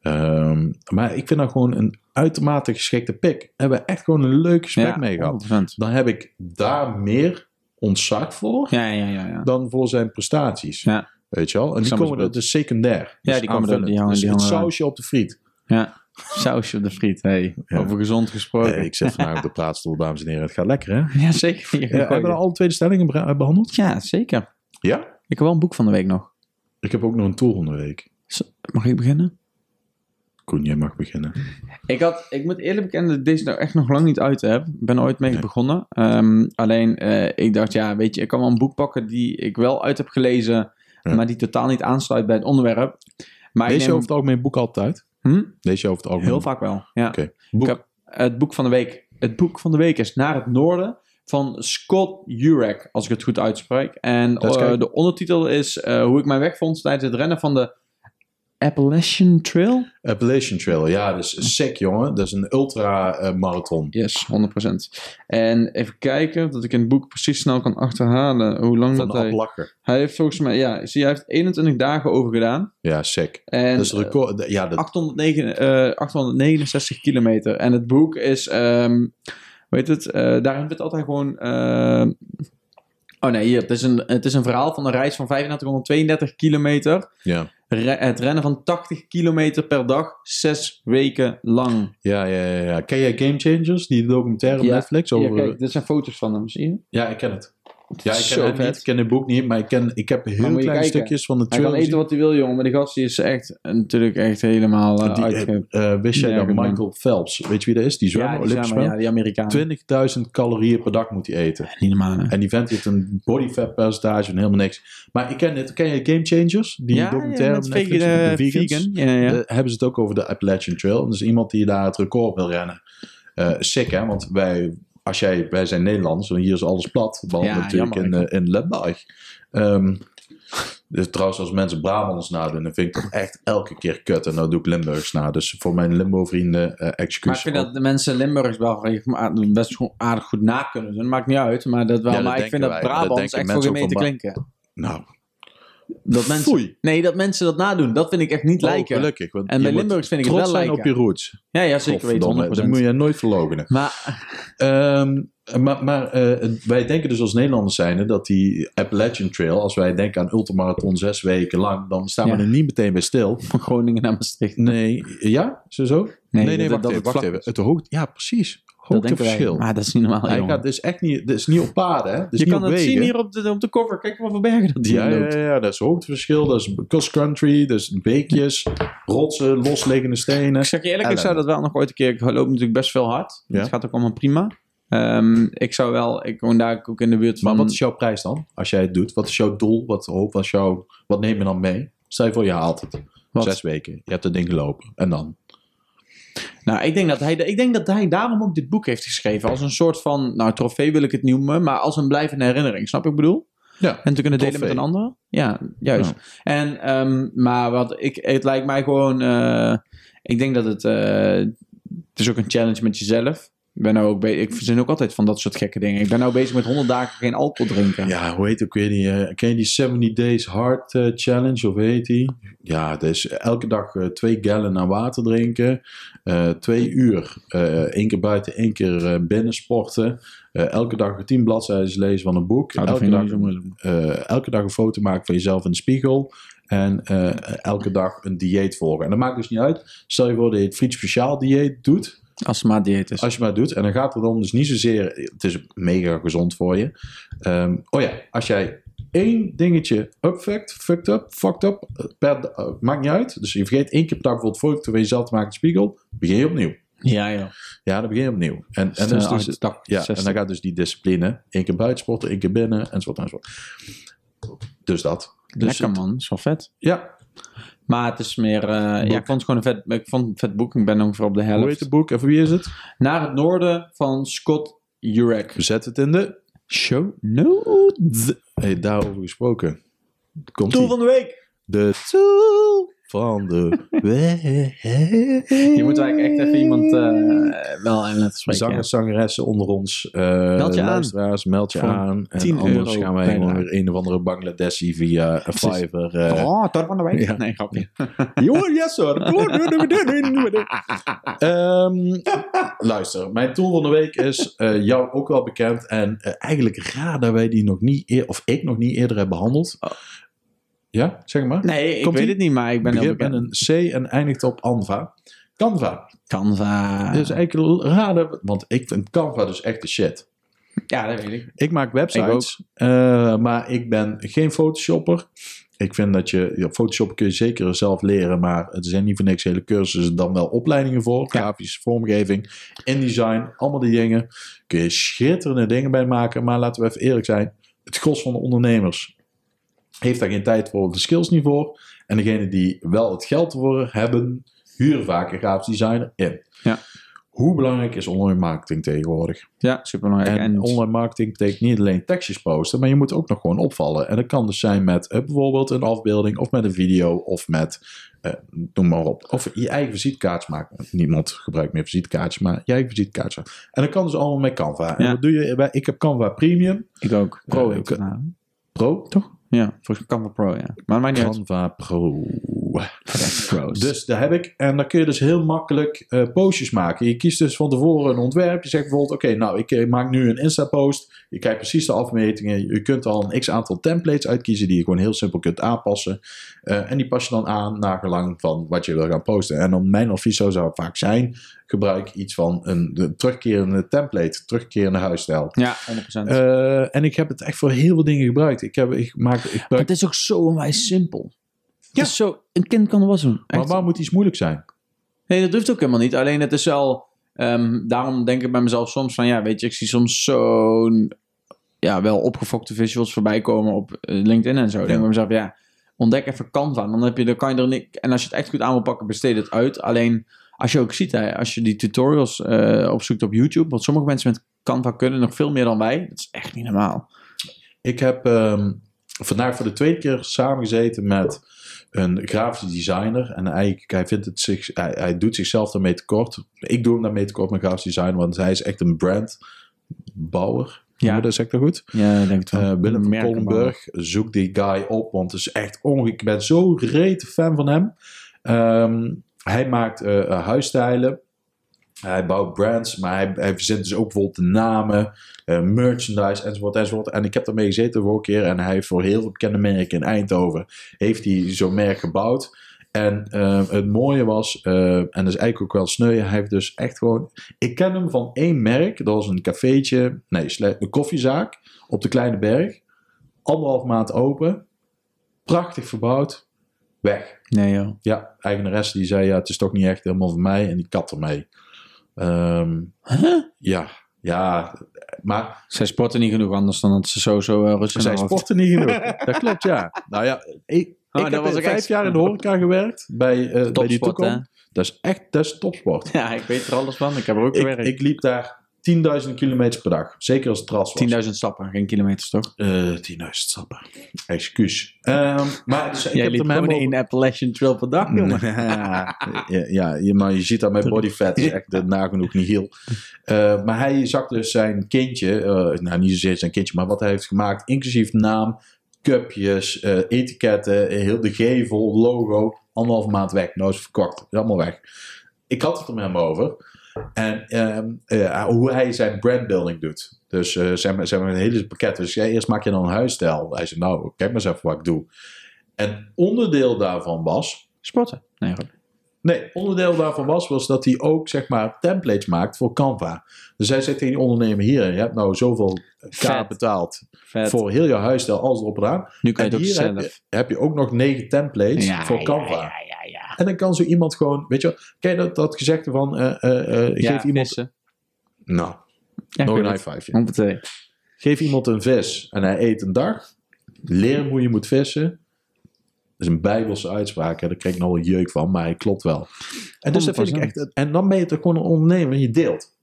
Speaker 4: Ehm, maar ik vind dat gewoon een uitermate geschikte pick. Daar Hebben we echt gewoon een leuk gesprek
Speaker 2: Ja,
Speaker 4: mee gehad.
Speaker 2: 100%.
Speaker 4: Dan heb ik daar meer ontzag voor
Speaker 2: Ja, ja, ja. ja.
Speaker 4: dan voor zijn prestaties.
Speaker 2: Ja.
Speaker 4: Weet je wel? En die
Speaker 2: snap wat je
Speaker 4: komen, dat
Speaker 2: bedoelt.
Speaker 4: is secundair.
Speaker 2: Ja,
Speaker 4: Dus
Speaker 2: die komen er-
Speaker 4: aanvullend.
Speaker 2: die hangen-
Speaker 4: Dus
Speaker 2: die
Speaker 4: het
Speaker 2: hangen eraan.
Speaker 4: sausje op de friet.
Speaker 2: ja. Sausje op de friet, hey.
Speaker 4: Ja.
Speaker 2: Over gezond gesproken.
Speaker 4: Eh, ik zit vandaag op de praatstoel, dames en heren. Het gaat lekker, hè?
Speaker 2: Ja, zeker. Je
Speaker 4: Eh,
Speaker 2: gaat
Speaker 4: hebben we
Speaker 2: gooien.
Speaker 4: al alle tweede stellingen bera- eh, behandeld?
Speaker 2: Ja, zeker.
Speaker 4: Ja?
Speaker 2: Ik heb wel een boek van de week nog.
Speaker 4: Ik heb ook nog een tool van de week.
Speaker 2: Z- Mag ik beginnen?
Speaker 4: Koen, jij mag beginnen.
Speaker 2: Ik, had, ik moet eerlijk bekennen dat ik deze nou echt nog lang niet uit heb. Ik ben er ooit mee
Speaker 4: Nee.
Speaker 2: begonnen. Ehm, alleen, eh, ik dacht, ja, weet je, ik kan wel een boek pakken die ik wel uit heb gelezen,
Speaker 4: Ja.
Speaker 2: maar die totaal niet aansluit bij het onderwerp. Maar
Speaker 4: Lees
Speaker 2: ik
Speaker 4: je
Speaker 2: neem,
Speaker 4: over het algemeen boek altijd?
Speaker 2: Hm?
Speaker 4: Lees je over het algemeen
Speaker 2: Heel vaak wel, ja.
Speaker 4: Oké. Boek.
Speaker 2: Ik heb het boek van de week. Het boek van de week is Naar het Noorden van Scott Jurek, als ik het goed uitspreek. En
Speaker 4: eens
Speaker 2: eh,
Speaker 4: kijken.
Speaker 2: de ondertitel is eh, Hoe ik mijn weg vond tijdens het rennen van de Appalachian Trail.
Speaker 4: Appalachian Trail, ja, dat is sec, jongen. Dat is een eh, ultra-marathon.
Speaker 2: Yes, 100%. En even kijken, dat ik in het boek precies snel kan achterhalen hoe lang
Speaker 4: van
Speaker 2: dat
Speaker 4: de
Speaker 2: hij...
Speaker 4: Appalacher.
Speaker 2: Hij heeft volgens mij, ja, zie, hij heeft 21 dagen over gedaan.
Speaker 4: Ja, sec.
Speaker 2: En eh,
Speaker 4: Dat is het record. ja, dat,
Speaker 2: 809, eh, 869 kilometer. En het boek is, ehm weet het, eh, daarin wordt altijd gewoon. ehm, oh nee, hier, het is, een, het is een verhaal van een reis van 3532 kilometer.
Speaker 4: ja.
Speaker 2: Re- het rennen van 80 kilometer per dag, zes weken lang.
Speaker 4: Ja, ja, ja, ja. Ken jij Game Changers, die documentaire op
Speaker 2: Ja.
Speaker 4: Netflix?
Speaker 2: Hier,
Speaker 4: Over... Ja,
Speaker 2: kijk, dit zijn foto's van hem, zie je?
Speaker 4: ik ken het. Ja, ik
Speaker 2: Zo
Speaker 4: ken, het
Speaker 2: vet.
Speaker 4: niet, ik ken het boek niet, maar ik, ken, ik heb heel
Speaker 2: moet je
Speaker 4: kleine
Speaker 2: kijken.
Speaker 4: stukjes van de
Speaker 2: Hij kan
Speaker 4: trail
Speaker 2: eten
Speaker 4: gezien.
Speaker 2: wat hij wil, jongen, maar die gast die is echt, eh, natuurlijk echt helemaal eh
Speaker 4: Die-
Speaker 2: uitge-
Speaker 4: Eh, wist jij dat
Speaker 2: Nergens, man.
Speaker 4: Michael Phelps, weet je wie dat is? Die zwemmer,
Speaker 2: Ja, die,
Speaker 4: Olympisch
Speaker 2: zijn maar, ja,
Speaker 4: zwemmer.
Speaker 2: die Amerikanen.
Speaker 4: 20.000 calorieën per dag moet hij eten.
Speaker 2: Niet normaal, hè?
Speaker 4: En die vent heeft een body fat percentage en helemaal niks. Maar ik ken het. Ken je Game Changers? Die
Speaker 2: ja,
Speaker 4: documentaire
Speaker 2: ja,
Speaker 4: op
Speaker 2: met
Speaker 4: Netflix
Speaker 2: vegan,
Speaker 4: met
Speaker 2: eh,
Speaker 4: de vegans?
Speaker 2: vegan. Ja, ja.
Speaker 4: Eh, hebben ze het ook over de Appalachian Trail. Dus iemand die daar het record wil rennen. Eh sick, hè? Want wij, als jij, wij zijn Nederlanders en hier is alles plat. Behalve
Speaker 2: Ja,
Speaker 4: natuurlijk
Speaker 2: jammer,
Speaker 4: in, eh, in Limburg. Ehm, dus trouwens, als mensen Brabants nadoen, dan vind ik dat echt elke keer kut. En nou doe ik Limburgs na. Dus voor mijn Limbo-vrienden, eh
Speaker 2: Maar ik
Speaker 4: excuus.
Speaker 2: vind dat de mensen Limburgs wel regelmatig- best gewoon aardig goed na kunnen doen. Maakt niet uit, maar, dat wel,
Speaker 4: Ja, dat
Speaker 2: maar ik vind
Speaker 4: denken
Speaker 2: dat
Speaker 4: wij, maar dat
Speaker 2: Brabants
Speaker 4: denken
Speaker 2: echt voor
Speaker 4: mensen
Speaker 2: gemeen
Speaker 4: ook
Speaker 2: te
Speaker 4: van
Speaker 2: klinken.
Speaker 4: Nou,
Speaker 2: Dat mensen,
Speaker 4: Foei.
Speaker 2: Nee, dat mensen dat nadoen, dat vind ik echt niet
Speaker 4: oh,
Speaker 2: lijken.
Speaker 4: gelukkig. Want
Speaker 2: en
Speaker 4: je
Speaker 2: bij
Speaker 4: moet
Speaker 2: Limburgs vind ik het
Speaker 4: trots
Speaker 2: wel
Speaker 4: zijn
Speaker 2: lijken.
Speaker 4: op je roots.
Speaker 2: Ja, ja, zeker
Speaker 4: Godverdomme, Dat
Speaker 2: weten, 100%.
Speaker 4: moet je nooit verlogenen.
Speaker 2: Maar
Speaker 4: Ehm, maar maar eh, wij denken dus als Nederlanders zijnde dat die Appalachian Trail, als wij denken aan ultramarathon zes weken lang, dan staan
Speaker 2: Ja.
Speaker 4: we er niet meteen bij stil.
Speaker 2: van Groningen naar Maastricht.
Speaker 4: Nee, ja, zo zo?
Speaker 2: Nee,
Speaker 4: nee,
Speaker 2: dat-
Speaker 4: wacht
Speaker 2: dat
Speaker 4: even,
Speaker 2: het
Speaker 4: wacht
Speaker 2: vlak
Speaker 4: even.
Speaker 2: is.
Speaker 4: Het hoogte, ja, precies.
Speaker 2: Dat denken wij.
Speaker 4: Hoogteverschil.
Speaker 2: Maar dat is niet normaal,
Speaker 4: Hij
Speaker 2: jongen.
Speaker 4: gaat, dit is echt niet, dit is niet op paden, hè? Dit is Dus
Speaker 2: je
Speaker 4: niet
Speaker 2: kan
Speaker 4: op
Speaker 2: het
Speaker 4: wegen.
Speaker 2: zien hier op de, op de cover. Kijk wat voor bergen dat hier
Speaker 4: Ja, ja,
Speaker 2: loopt.
Speaker 4: ja, ja, dat is hoogteverschil, dat is cross country, dus beekjes, rotsen, losliggende stenen.
Speaker 2: Ik Nou, zeg je eerlijk, ik
Speaker 4: Ellen.
Speaker 2: zou dat wel nog ooit een keer... Ik loop natuurlijk best veel hard.
Speaker 4: Ja.
Speaker 2: Het gaat ook allemaal prima. Ehm, ik zou wel... Ik woon daar ook in de buurt van...
Speaker 4: Maar wat is jouw prijs dan, als jij het doet? Wat is jouw doel? Wat hoop? Wat, is jouw, wat neem je dan mee? Stel je voor, je haalt het.
Speaker 2: Wat?
Speaker 4: Zes weken. Je hebt het ding gelopen. En dan?
Speaker 2: Nou, ik denk, dat hij, ik denk dat hij daarom ook dit boek heeft geschreven. Als een soort van, nou, trofee wil ik het noemen, maar als een blijvende herinnering. Snap je wat ik bedoel?
Speaker 4: Ja.
Speaker 2: En te kunnen delen
Speaker 4: Trofee.
Speaker 2: met een ander. Ja, juist. En, ehm, maar wat ik, het lijkt mij gewoon, eh, ik denk dat het, eh, het is ook een challenge met jezelf. Ik ben nou ook be- ik verzin ook altijd van dat soort gekke dingen. Ik ben nou bezig met 100 dagen geen alcohol drinken.
Speaker 4: Ja, hoe heet ook weer die... eh, ken je die 70 Days Hard eh, Challenge? Of hoe heet die? Ja, dus elke dag eh, twee gallon aan water drinken. eh, twee uur. eh één keer buiten, één keer eh, binnen sporten. eh, elke dag tien bladzijden lezen van een boek.
Speaker 2: Nou, dat
Speaker 4: elke
Speaker 2: vind ik
Speaker 4: dag
Speaker 2: niet zo moeilijk.
Speaker 4: eh, elke dag een foto maken van jezelf in de spiegel. En eh, elke dag een dieet volgen. En dat maakt dus niet uit. Stel je voor dat je het friet speciaal dieet doet.
Speaker 2: Als het maar dieet is.
Speaker 4: Dus Als je maar doet. En dan gaat het om dus niet zozeer. Het is mega gezond voor je. Ehm, oh ja, als jij één dingetje upfuckt, fucked up, fucked up. Per, da- eh, maakt niet uit. Dus je vergeet één keer per dag bijvoorbeeld foto van jezelf te maken in de spiegel. Begin je opnieuw.
Speaker 2: Ja, joh.
Speaker 4: Ja, dan begin je opnieuw. En, en
Speaker 2: En
Speaker 4: dat is
Speaker 2: dus,
Speaker 4: dus ja, en dan gaat dus die discipline. één keer buiten sporten, één keer binnen, enzovoort, enzovoort. Dus dat. Dus
Speaker 2: Lekker man, is wel vet.
Speaker 4: Ja,
Speaker 2: Maar het is meer, eh, ja, ik vond het gewoon een vet, ik vond het een vet boek. Ik ben ongeveer op de helft.
Speaker 4: hoe heet het boek en voor wie is het?
Speaker 2: Naar het noorden van Scott Jurek.
Speaker 4: We zetten het in de...
Speaker 2: Show notes.
Speaker 4: Hey, daarover gesproken. Komt
Speaker 2: Tool van de week.
Speaker 4: De tool van de week.
Speaker 2: Hier moeten wij echt even iemand eh, wel aan laten spreken.
Speaker 4: Zangers, zangeressen onder ons. eh
Speaker 2: Meld je aan.
Speaker 4: luisteraars, meld je
Speaker 2: Voor
Speaker 4: aan. En
Speaker 2: 10
Speaker 4: anders
Speaker 2: euro
Speaker 4: gaan wij gewoon
Speaker 2: bijdrage.
Speaker 4: weer een of andere Bangladeshi via Fiverr.
Speaker 2: ja.
Speaker 4: eh,
Speaker 2: Oh, Tor van de week.
Speaker 4: Ja.
Speaker 2: Nee, grapje.
Speaker 4: Jongen, yes hoor. Ehm, luister, mijn tool van de week is eh, jou ook wel bekend. En eh, eigenlijk raar dat wij die nog niet, eer, of ik nog niet eerder heb behandeld. Ja, zeg maar.
Speaker 2: Nee, Oh. ik
Speaker 4: Komt-ie?
Speaker 2: weet het niet, maar ik ben heel
Speaker 4: Begint met
Speaker 2: bekend.
Speaker 4: een C en eindigt op Anva. Canva.
Speaker 2: Canva.
Speaker 4: Dat is eigenlijk raar, dat- want ik vind Canva dus echt de shit.
Speaker 2: Ja, dat weet ik.
Speaker 4: Ik maak websites, eh, maar ik ben geen Photoshopper. Ik vind dat je, ja, Photoshop kun je zeker zelf leren, maar er zijn niet voor niks hele cursussen, dan wel opleidingen voor. Grafische vormgeving, InDesign, allemaal die dingen. Kun je schitterende dingen bij maken, maar laten we even eerlijk zijn. Het gros van de ondernemers heeft daar geen tijd voor, of de skills niet voor. En degene die wel het geld voor hebben, huren vaak een grafisch designer in.
Speaker 2: Ja.
Speaker 4: Hoe belangrijk is online marketing tegenwoordig?
Speaker 2: Ja, superbelangrijk.
Speaker 4: En,
Speaker 2: En,
Speaker 4: online marketing betekent niet alleen tekstjes posten, maar je moet ook nog gewoon opvallen. En dat kan dus zijn met eh, bijvoorbeeld een afbeelding of met een video of met, eh, noem maar op. Of je eigen visitekaartjes maken. Niemand gebruikt meer visitekaartjes, maar je eigen visitekaartjes. maken. En dat kan dus allemaal met Canva. En
Speaker 2: Ja.
Speaker 4: wat doe je? Bij- Ik heb Canva Premium,
Speaker 2: ik ook.
Speaker 4: Pro,
Speaker 2: Pro heet
Speaker 4: ik-
Speaker 2: het nou.
Speaker 4: Pro, toch?
Speaker 2: Ja, volgens mij Canva Pro, ja. Maar het maakt niet uit.
Speaker 4: Canva Pro.
Speaker 2: Pro's.
Speaker 4: Dus daar heb ik. En dan kun je dus heel makkelijk eh, postjes maken. Je kiest dus van tevoren een ontwerp. Je zegt bijvoorbeeld: Oké, nou, ik eh, maak nu een Insta-post. Je kijkt precies de afmetingen. Je kunt al een x aantal templates uitkiezen die je gewoon heel simpel kunt aanpassen. Eh, en die pas je dan aan naar gelang van wat je wil gaan posten. En dan mijn advies zou, zou vaak zijn: gebruik iets van een, een terugkerende template, terugkerende huisstijl.
Speaker 2: Ja, 100%. Maar
Speaker 4: Eh, en ik heb het echt voor heel veel dingen gebruikt. Ik, heb, ik, maak, ik gebruik
Speaker 2: het is ook zo onwijs simpel. Ja. Het is zo, een kind kan er wel doen.
Speaker 4: maar
Speaker 2: Echt.
Speaker 4: waar moet iets moeilijk zijn?
Speaker 2: Nee, dat hoeft ook helemaal niet. Alleen het is wel... ehm, daarom denk ik bij mezelf soms van... Ja, weet je, ik zie soms zo'n... Ja, wel opgefokte visuals voorbij komen op eh, LinkedIn en zo. Ik denk bij mezelf, ja... Ontdek even Canva. Dan, heb je, dan kan je er niet... En als je het echt goed aan wil pakken, besteed het uit. Alleen, als je ook ziet, hè, als je die tutorials eh, opzoekt op YouTube... Wat sommige mensen met Canva kunnen, nog veel meer dan wij. Dat is echt niet normaal.
Speaker 4: Ik heb ehm, vandaag voor de tweede keer samengezeten met een grafisch designer. En eigenlijk, hij, vindt het zich, hij, hij doet zichzelf daarmee tekort. Ik doe hem daarmee tekort, mijn grafisch designer, want hij is echt een brandbouwer.
Speaker 2: Ja.
Speaker 4: Ja, dat zeg ik dat goed.
Speaker 2: Ja, ik denk het
Speaker 4: Eh, Willem van Kollenburg, zoek die guy op, want het is echt onge... Ik ben zo rete fan van hem. Ehm, hij maakt eh, eh, huisstijlen. Hij bouwt brands, maar hij, hij verzint dus ook bijvoorbeeld de namen, eh, merchandise enzovoort enzovoort. En ik heb daarmee gezeten de vorige keer en hij heeft voor heel veel bekende merken in Eindhoven heeft hij zo'n merk gebouwd. En eh, het mooie was, eh, en dat is eigenlijk ook wel sneu, hij heeft dus echt gewoon... Ik ken hem van één merk, dat was een cafeetje, nee, sle- een koffiezaak op de Kleine Berg. Anderhalf maand open, prachtig verbouwd, weg.
Speaker 2: Nee, joh.
Speaker 4: Ja, eigenares die zei, ja, het is toch niet echt helemaal van mij. En die kat ermee. Ehm, Ja, ja. Maar
Speaker 2: Zij sporten niet genoeg anders dan dat ze sowieso zo rustig
Speaker 4: zij
Speaker 2: zijn.
Speaker 4: sporten niet genoeg. Dat klopt, ja. Nou ja, ik,
Speaker 2: Oh, dat
Speaker 4: ik heb
Speaker 2: was
Speaker 4: was
Speaker 2: ook
Speaker 4: vijf
Speaker 2: echt-
Speaker 4: jaar in de horeca gewerkt. Bij, eh bij die
Speaker 2: Topsport, hè?
Speaker 4: toekomst. Dat is echt dat is topsport.
Speaker 2: Ja, ik weet er alles van. Ik heb er ook
Speaker 4: Ik,
Speaker 2: gewerkt.
Speaker 4: ik liep daar 10.000 kilometer per dag. Zeker als het ras was.
Speaker 2: 10.000 stappen, geen kilometers toch?
Speaker 4: Eh, 10.000 stappen. Excuus. Ehm, maar dus, ik
Speaker 2: Jij
Speaker 4: heb
Speaker 2: liep
Speaker 4: er met
Speaker 2: gewoon
Speaker 4: hem over-
Speaker 2: één Appalachian Trail per dag, jongen.
Speaker 4: ja, ja, je- maar je ziet aan mijn body fat is echt eh, nagenoeg niet heel. Eh, maar hij zag dus zijn kindje, eh, nou niet zozeer zijn kindje, maar wat hij heeft gemaakt, inclusief naam, cupjes, eh, etiketten, eh, heel de gevel, logo, anderhalf maand weg, nooit verkocht, is allemaal weg. Ik had het er met hem over. En ehm, eh, hoe hij zijn brandbuilding doet. Dus eh zijn, zijn een hele pakket. Dus jij eerst maak je dan een huisstijl. Hij zei, nou, kijk maar eens even wat ik doe. En onderdeel daarvan was,
Speaker 2: Sporten? Nee, goed.
Speaker 4: Nee, onderdeel daarvan was, was dat hij ook zeg maar templates maakt voor Canva. Dus hij zegt tegen die ondernemer hier, je hebt nou zoveel
Speaker 2: Vet.
Speaker 4: k betaald
Speaker 2: Vet.
Speaker 4: voor heel je huisstijl, alles erop en aan.
Speaker 2: nu kan je
Speaker 4: En
Speaker 2: het ook
Speaker 4: hier heb
Speaker 2: zelf.
Speaker 4: je, heb je ook nog negen templates
Speaker 2: Ja,
Speaker 4: voor
Speaker 2: ja,
Speaker 4: Canva. En dan kan zo iemand gewoon, weet je wel, ken je dat, dat gezegde van, eh, eh, eh,
Speaker 2: Ja,
Speaker 4: geef iemand...
Speaker 2: vissen.
Speaker 4: Nou,
Speaker 2: Ja,
Speaker 4: nog
Speaker 2: ik
Speaker 4: een
Speaker 2: weet
Speaker 4: high five.
Speaker 2: het. Om te twee.
Speaker 4: Geef iemand een vis en hij eet een dag. Leer hem hoe je moet vissen. Dat is een bijbelse uitspraak. Hè? Daar kreeg ik nog wel jeuk van, maar hij klopt wel. En dus dat vind ik
Speaker 2: 100%.
Speaker 4: echt... En dan ben je toch gewoon een ondernemer. Je deelt.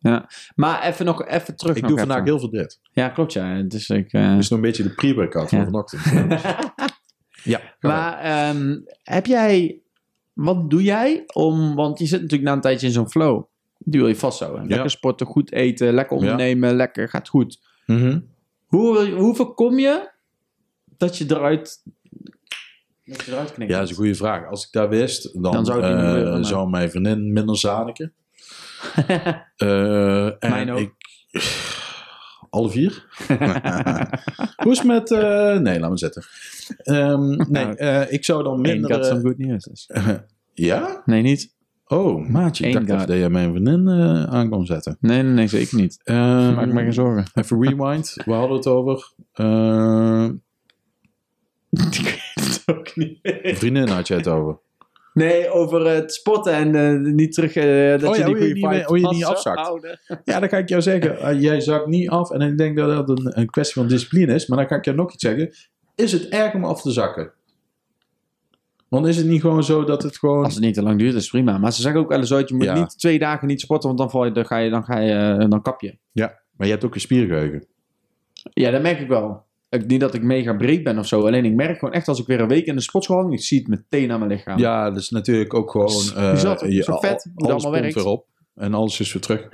Speaker 2: Maar even nog even terug.
Speaker 4: Ik
Speaker 2: nog
Speaker 4: doe
Speaker 2: even.
Speaker 4: vandaag heel veel dit.
Speaker 2: Ja, klopt ja. Dus ik, eh,
Speaker 4: Het is nog een beetje de pre-workout van
Speaker 2: Ja.
Speaker 4: vanochtend. ja.
Speaker 2: Maar ehm, heb jij... Wat doe jij om... Want je zit natuurlijk na een tijdje in zo'n flow. Die wil je vast zo. Lekker sporten, goed eten, lekker ondernemen, lekker, gaat goed.
Speaker 4: Mhm.
Speaker 2: Hoe, wil je- hoe voorkom je dat je eruit, dat je eruit knikt?
Speaker 4: Ja, dat is een goede vraag. Als ik dat wist, dan,
Speaker 2: Dan zou het niet
Speaker 4: eh,
Speaker 2: gebeuren, maar-
Speaker 4: zou mijn vriendin minder zaniken. Eh, en
Speaker 2: Mijn ook.
Speaker 4: Ik, alle vier? Hoe is het met... eh, nee, laat me zetten. Ehm, nee,
Speaker 2: Nou,
Speaker 4: eh, ik zou dan minder...
Speaker 2: got
Speaker 4: eh,
Speaker 2: some good news. dus.
Speaker 4: Ja?
Speaker 2: Nee, niet.
Speaker 4: Oh, maatje. Ik
Speaker 2: Eén
Speaker 4: dacht
Speaker 2: guy.
Speaker 4: even dat jij mijn vriendin eh aan kon zetten.
Speaker 2: Nee, nee, nee, zeker niet.
Speaker 4: Ehm,
Speaker 2: Maak me geen zorgen.
Speaker 4: Eh, even rewind. We hadden het over... ehm, het ook niet.
Speaker 1: Een vriendin had je het over.
Speaker 2: Nee, over het spotten en eh, niet terug eh, dat
Speaker 1: Oh
Speaker 2: je
Speaker 1: ja, hoe je
Speaker 2: die goede
Speaker 1: niet
Speaker 2: vibe
Speaker 1: meer- hoe je niet
Speaker 2: vast zou
Speaker 1: afzakt.
Speaker 2: houden.
Speaker 4: Ja, dan ga ik jou zeggen. eh, jij zakt niet af. En ik denk dat dat een, een kwestie van discipline is. Maar dan ga ik jou nog iets zeggen. Is het erg om af te zakken? Want is het niet gewoon zo dat het gewoon...
Speaker 2: Als het niet te lang duurt, is prima. Maar ze zeggen ook wel eens ooit, je moet
Speaker 1: Ja.
Speaker 2: niet twee dagen niet sporten, want dan, val je, dan, ga je, dan, ga je, eh, dan kap je.
Speaker 1: Maar je hebt ook een spiergeheugen.
Speaker 2: Ja, dat merk ik wel. Ik, niet dat ik mega breed ben of zo. Alleen ik merk gewoon echt als ik weer een week in de sportschool hang, ik zie het meteen aan mijn lichaam.
Speaker 4: Ja, dat is natuurlijk ook gewoon... eh,
Speaker 2: Bizar, toch?
Speaker 4: je-
Speaker 2: Zo vet, hoe dat
Speaker 4: alles
Speaker 2: allemaal
Speaker 4: pompt
Speaker 2: werkt.
Speaker 4: weer op. En alles is weer terug.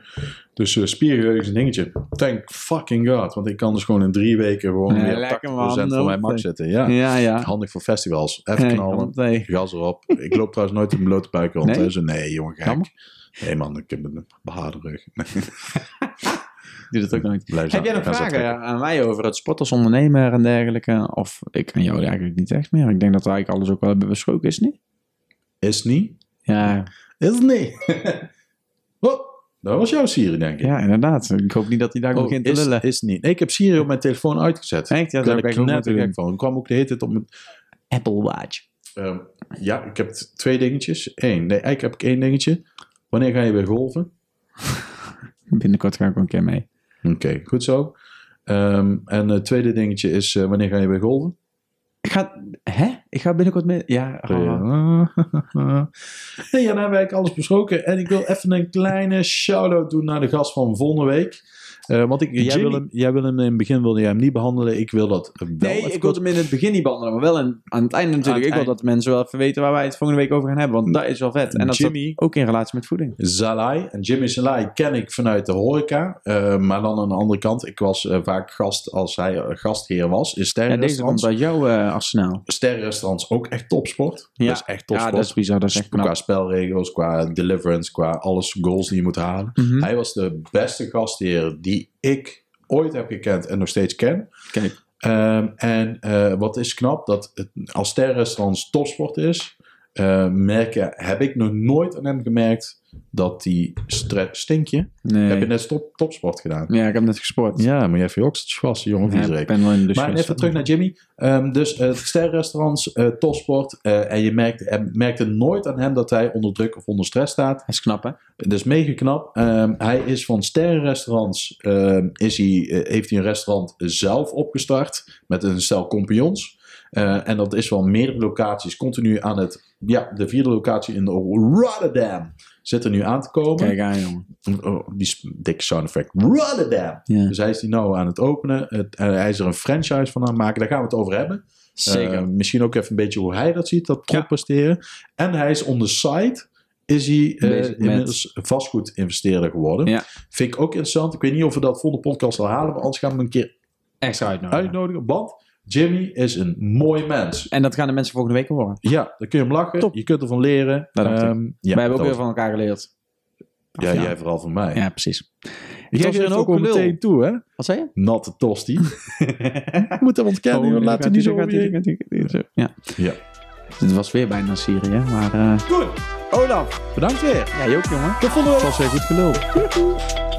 Speaker 4: Dus eh spiergeheugen is een dingetje. Thank fucking god. Want ik kan dus gewoon in drie weken gewoon
Speaker 2: Ja,
Speaker 4: weer
Speaker 2: lekker,
Speaker 4: 80%
Speaker 2: man.
Speaker 4: van mijn max
Speaker 2: Oké.
Speaker 4: zetten. Ja.
Speaker 2: ja. ja.
Speaker 4: Handig voor festivals. Even
Speaker 2: Nee,
Speaker 4: knallen.
Speaker 2: want, nee.
Speaker 4: Gas erop. Ik loop trouwens nooit met mijn blote buik rond.
Speaker 2: Nee?
Speaker 4: hè. Zo, nee jongen, gek.
Speaker 2: Jammer.
Speaker 4: Nee man, ik heb een behaarde rug.
Speaker 2: Ik doe dat ook nooit.
Speaker 4: Blijf
Speaker 2: Heb
Speaker 4: zo-
Speaker 2: jij nog
Speaker 4: ga zo
Speaker 2: vragen eh,
Speaker 4: trekken.
Speaker 2: aan mij over het sport als ondernemer en dergelijke? Of ik aan jou eigenlijk niet echt meer. Ik denk dat we eigenlijk alles ook wel hebben besproken, is het niet?
Speaker 4: Is niet?
Speaker 2: Ja,
Speaker 4: Is niet. oh, dat was jouw Siri, denk ik.
Speaker 2: ja, inderdaad. Ik hoop niet dat hij daar
Speaker 4: Oh,
Speaker 2: begint te
Speaker 4: is,
Speaker 2: lullen.
Speaker 4: is niet. Nee, ik heb Siri op mijn telefoon uitgezet.
Speaker 2: Echt? Ja,
Speaker 4: ik ben
Speaker 2: dat heb ik ook moeten
Speaker 4: knettergek
Speaker 2: doen.
Speaker 4: van. Ik kwam ook de hele tijd op mijn...
Speaker 2: Apple Watch.
Speaker 4: ehm, ja, ik heb t- twee dingetjes. Eén. Nee, eigenlijk heb ik één dingetje. Wanneer ga je weer golven?
Speaker 2: Binnenkort ga ik ook een keer mee.
Speaker 4: Oké, goed zo. Ehm, en het tweede dingetje is, eh, wanneer ga je weer golven?
Speaker 2: Ik ga... Hè? Ik ga binnenkort mee... Ja,
Speaker 4: Ja.
Speaker 2: oh.
Speaker 4: Nee, ja, dan hebben nou, we eigenlijk alles besproken. En ik wil even een kleine shout-out doen naar de gast van volgende week. Eh, want ik, jij,
Speaker 2: Jimmy.
Speaker 4: wil hem, jij wil hem in het begin wilde jij hem niet behandelen. Ik wil dat wel
Speaker 2: Nee,
Speaker 4: even
Speaker 2: ik wilde
Speaker 4: kort-
Speaker 2: hem in het begin niet behandelen, maar wel in- aan het einde natuurlijk.
Speaker 4: het
Speaker 2: ik wil
Speaker 4: eind.
Speaker 2: dat mensen wel even weten waar wij het volgende week over gaan hebben, want dat is wel vet. En dat is
Speaker 4: Jimmy
Speaker 2: ook in relatie met voeding.
Speaker 4: Zalai. En Jimmy Zalai ken ik vanuit de horeca. eh, maar dan aan de andere kant. Ik was eh, vaak gast als hij eh, gastheer was in
Speaker 2: Ja, deze komt
Speaker 4: sterrenrestaurants.
Speaker 2: uit jouw eh, arsenaal.
Speaker 4: sterrenrestaurants ook echt topsport.
Speaker 2: Ja.
Speaker 4: Dat is echt
Speaker 2: Ja,
Speaker 4: topsport.
Speaker 2: dat is bizar. Dat is echt knap.
Speaker 4: Qua spelregels, qua deliverance, qua alles, goals die je moet halen.
Speaker 2: Mhm.
Speaker 4: Hij was de beste gastheer die ik ooit heb gekend en nog steeds ken.
Speaker 2: Kijk.
Speaker 4: Ehm, en eh, wat is knap, dat het, als sterrenrestaurants topsport is, eh, merken, heb ik nog nooit aan hem gemerkt dat die stre- stink je.
Speaker 2: Nee.
Speaker 4: Heb je net stop, topsport gedaan?
Speaker 2: Ja, ik heb net gesport.
Speaker 4: Ja, maar jij hebt je ook gewassen, jongen,
Speaker 2: Ja,
Speaker 4: viezerik.
Speaker 2: ik ben wel in de
Speaker 4: Maar even terug naar Jimmy. Ehm, dus eh sterrenrestaurants, eh, topsport. eh, en je merkt, hem- merkte nooit aan hem dat hij onder druk of onder stress staat.
Speaker 2: Dat is knap, hè?
Speaker 4: Dat is mega knap. Ehm, hij is van sterrenrestaurants. ehm, is hij, eh, heeft hij een restaurant zelf opgestart met een stel compagnons. Eh, en dat is van meerdere locaties. Continu aan het. Ja, de vierde locatie in Rotterdam zit er nu aan te komen.
Speaker 2: Kijk aan, jongen.
Speaker 4: Oh, die s- dikke sound effect. Rotterdam!
Speaker 2: Ja.
Speaker 4: Dus hij is die nou aan het openen. Het, eh, hij is er een franchise van aan het maken. Daar gaan we het over hebben.
Speaker 2: Zeker.
Speaker 4: Eh, misschien ook even een beetje hoe hij dat ziet, dat prop presteren. En hij is on the side, is hij eh,
Speaker 2: Bezig met-
Speaker 4: inmiddels vastgoedinvesteerder geworden.
Speaker 2: Ja.
Speaker 4: Vind ik ook interessant. Ik weet niet of we dat volgende podcast al halen, maar anders gaan we hem een keer
Speaker 2: Extra uitnodigen.
Speaker 4: uitnodigen. Want Jimmy is een mooi mens.
Speaker 2: En dat gaan de mensen volgende week horen.
Speaker 4: Ja, dan kun je hem lachen.
Speaker 2: Top.
Speaker 4: Je kunt ervan leren.
Speaker 2: Dat dacht ik.
Speaker 4: Ehm, ja,
Speaker 2: Wij hebben ook
Speaker 4: dat
Speaker 2: weer van elkaar geleerd.
Speaker 4: was- ja,
Speaker 2: ja.
Speaker 4: jij vooral van mij.
Speaker 2: Ja, precies.
Speaker 4: Ik
Speaker 2: was
Speaker 4: geef je
Speaker 2: echt
Speaker 4: dan ook
Speaker 2: ook een lul.
Speaker 4: meteen toe, hè?
Speaker 2: Wat zei je?
Speaker 4: Natte tosti. Ik moet hem
Speaker 2: Oh,
Speaker 4: ontkennen. joh. Laat het niet zo over je heen.
Speaker 2: Ja.
Speaker 4: Ja.
Speaker 2: Het was weer bijna Syrië, maar... eh
Speaker 4: Goed.
Speaker 2: Olaf!
Speaker 4: Bedankt weer.
Speaker 2: Ja, je ook, jongen.
Speaker 4: Tot volgende week.
Speaker 2: Het was weer goed gelul.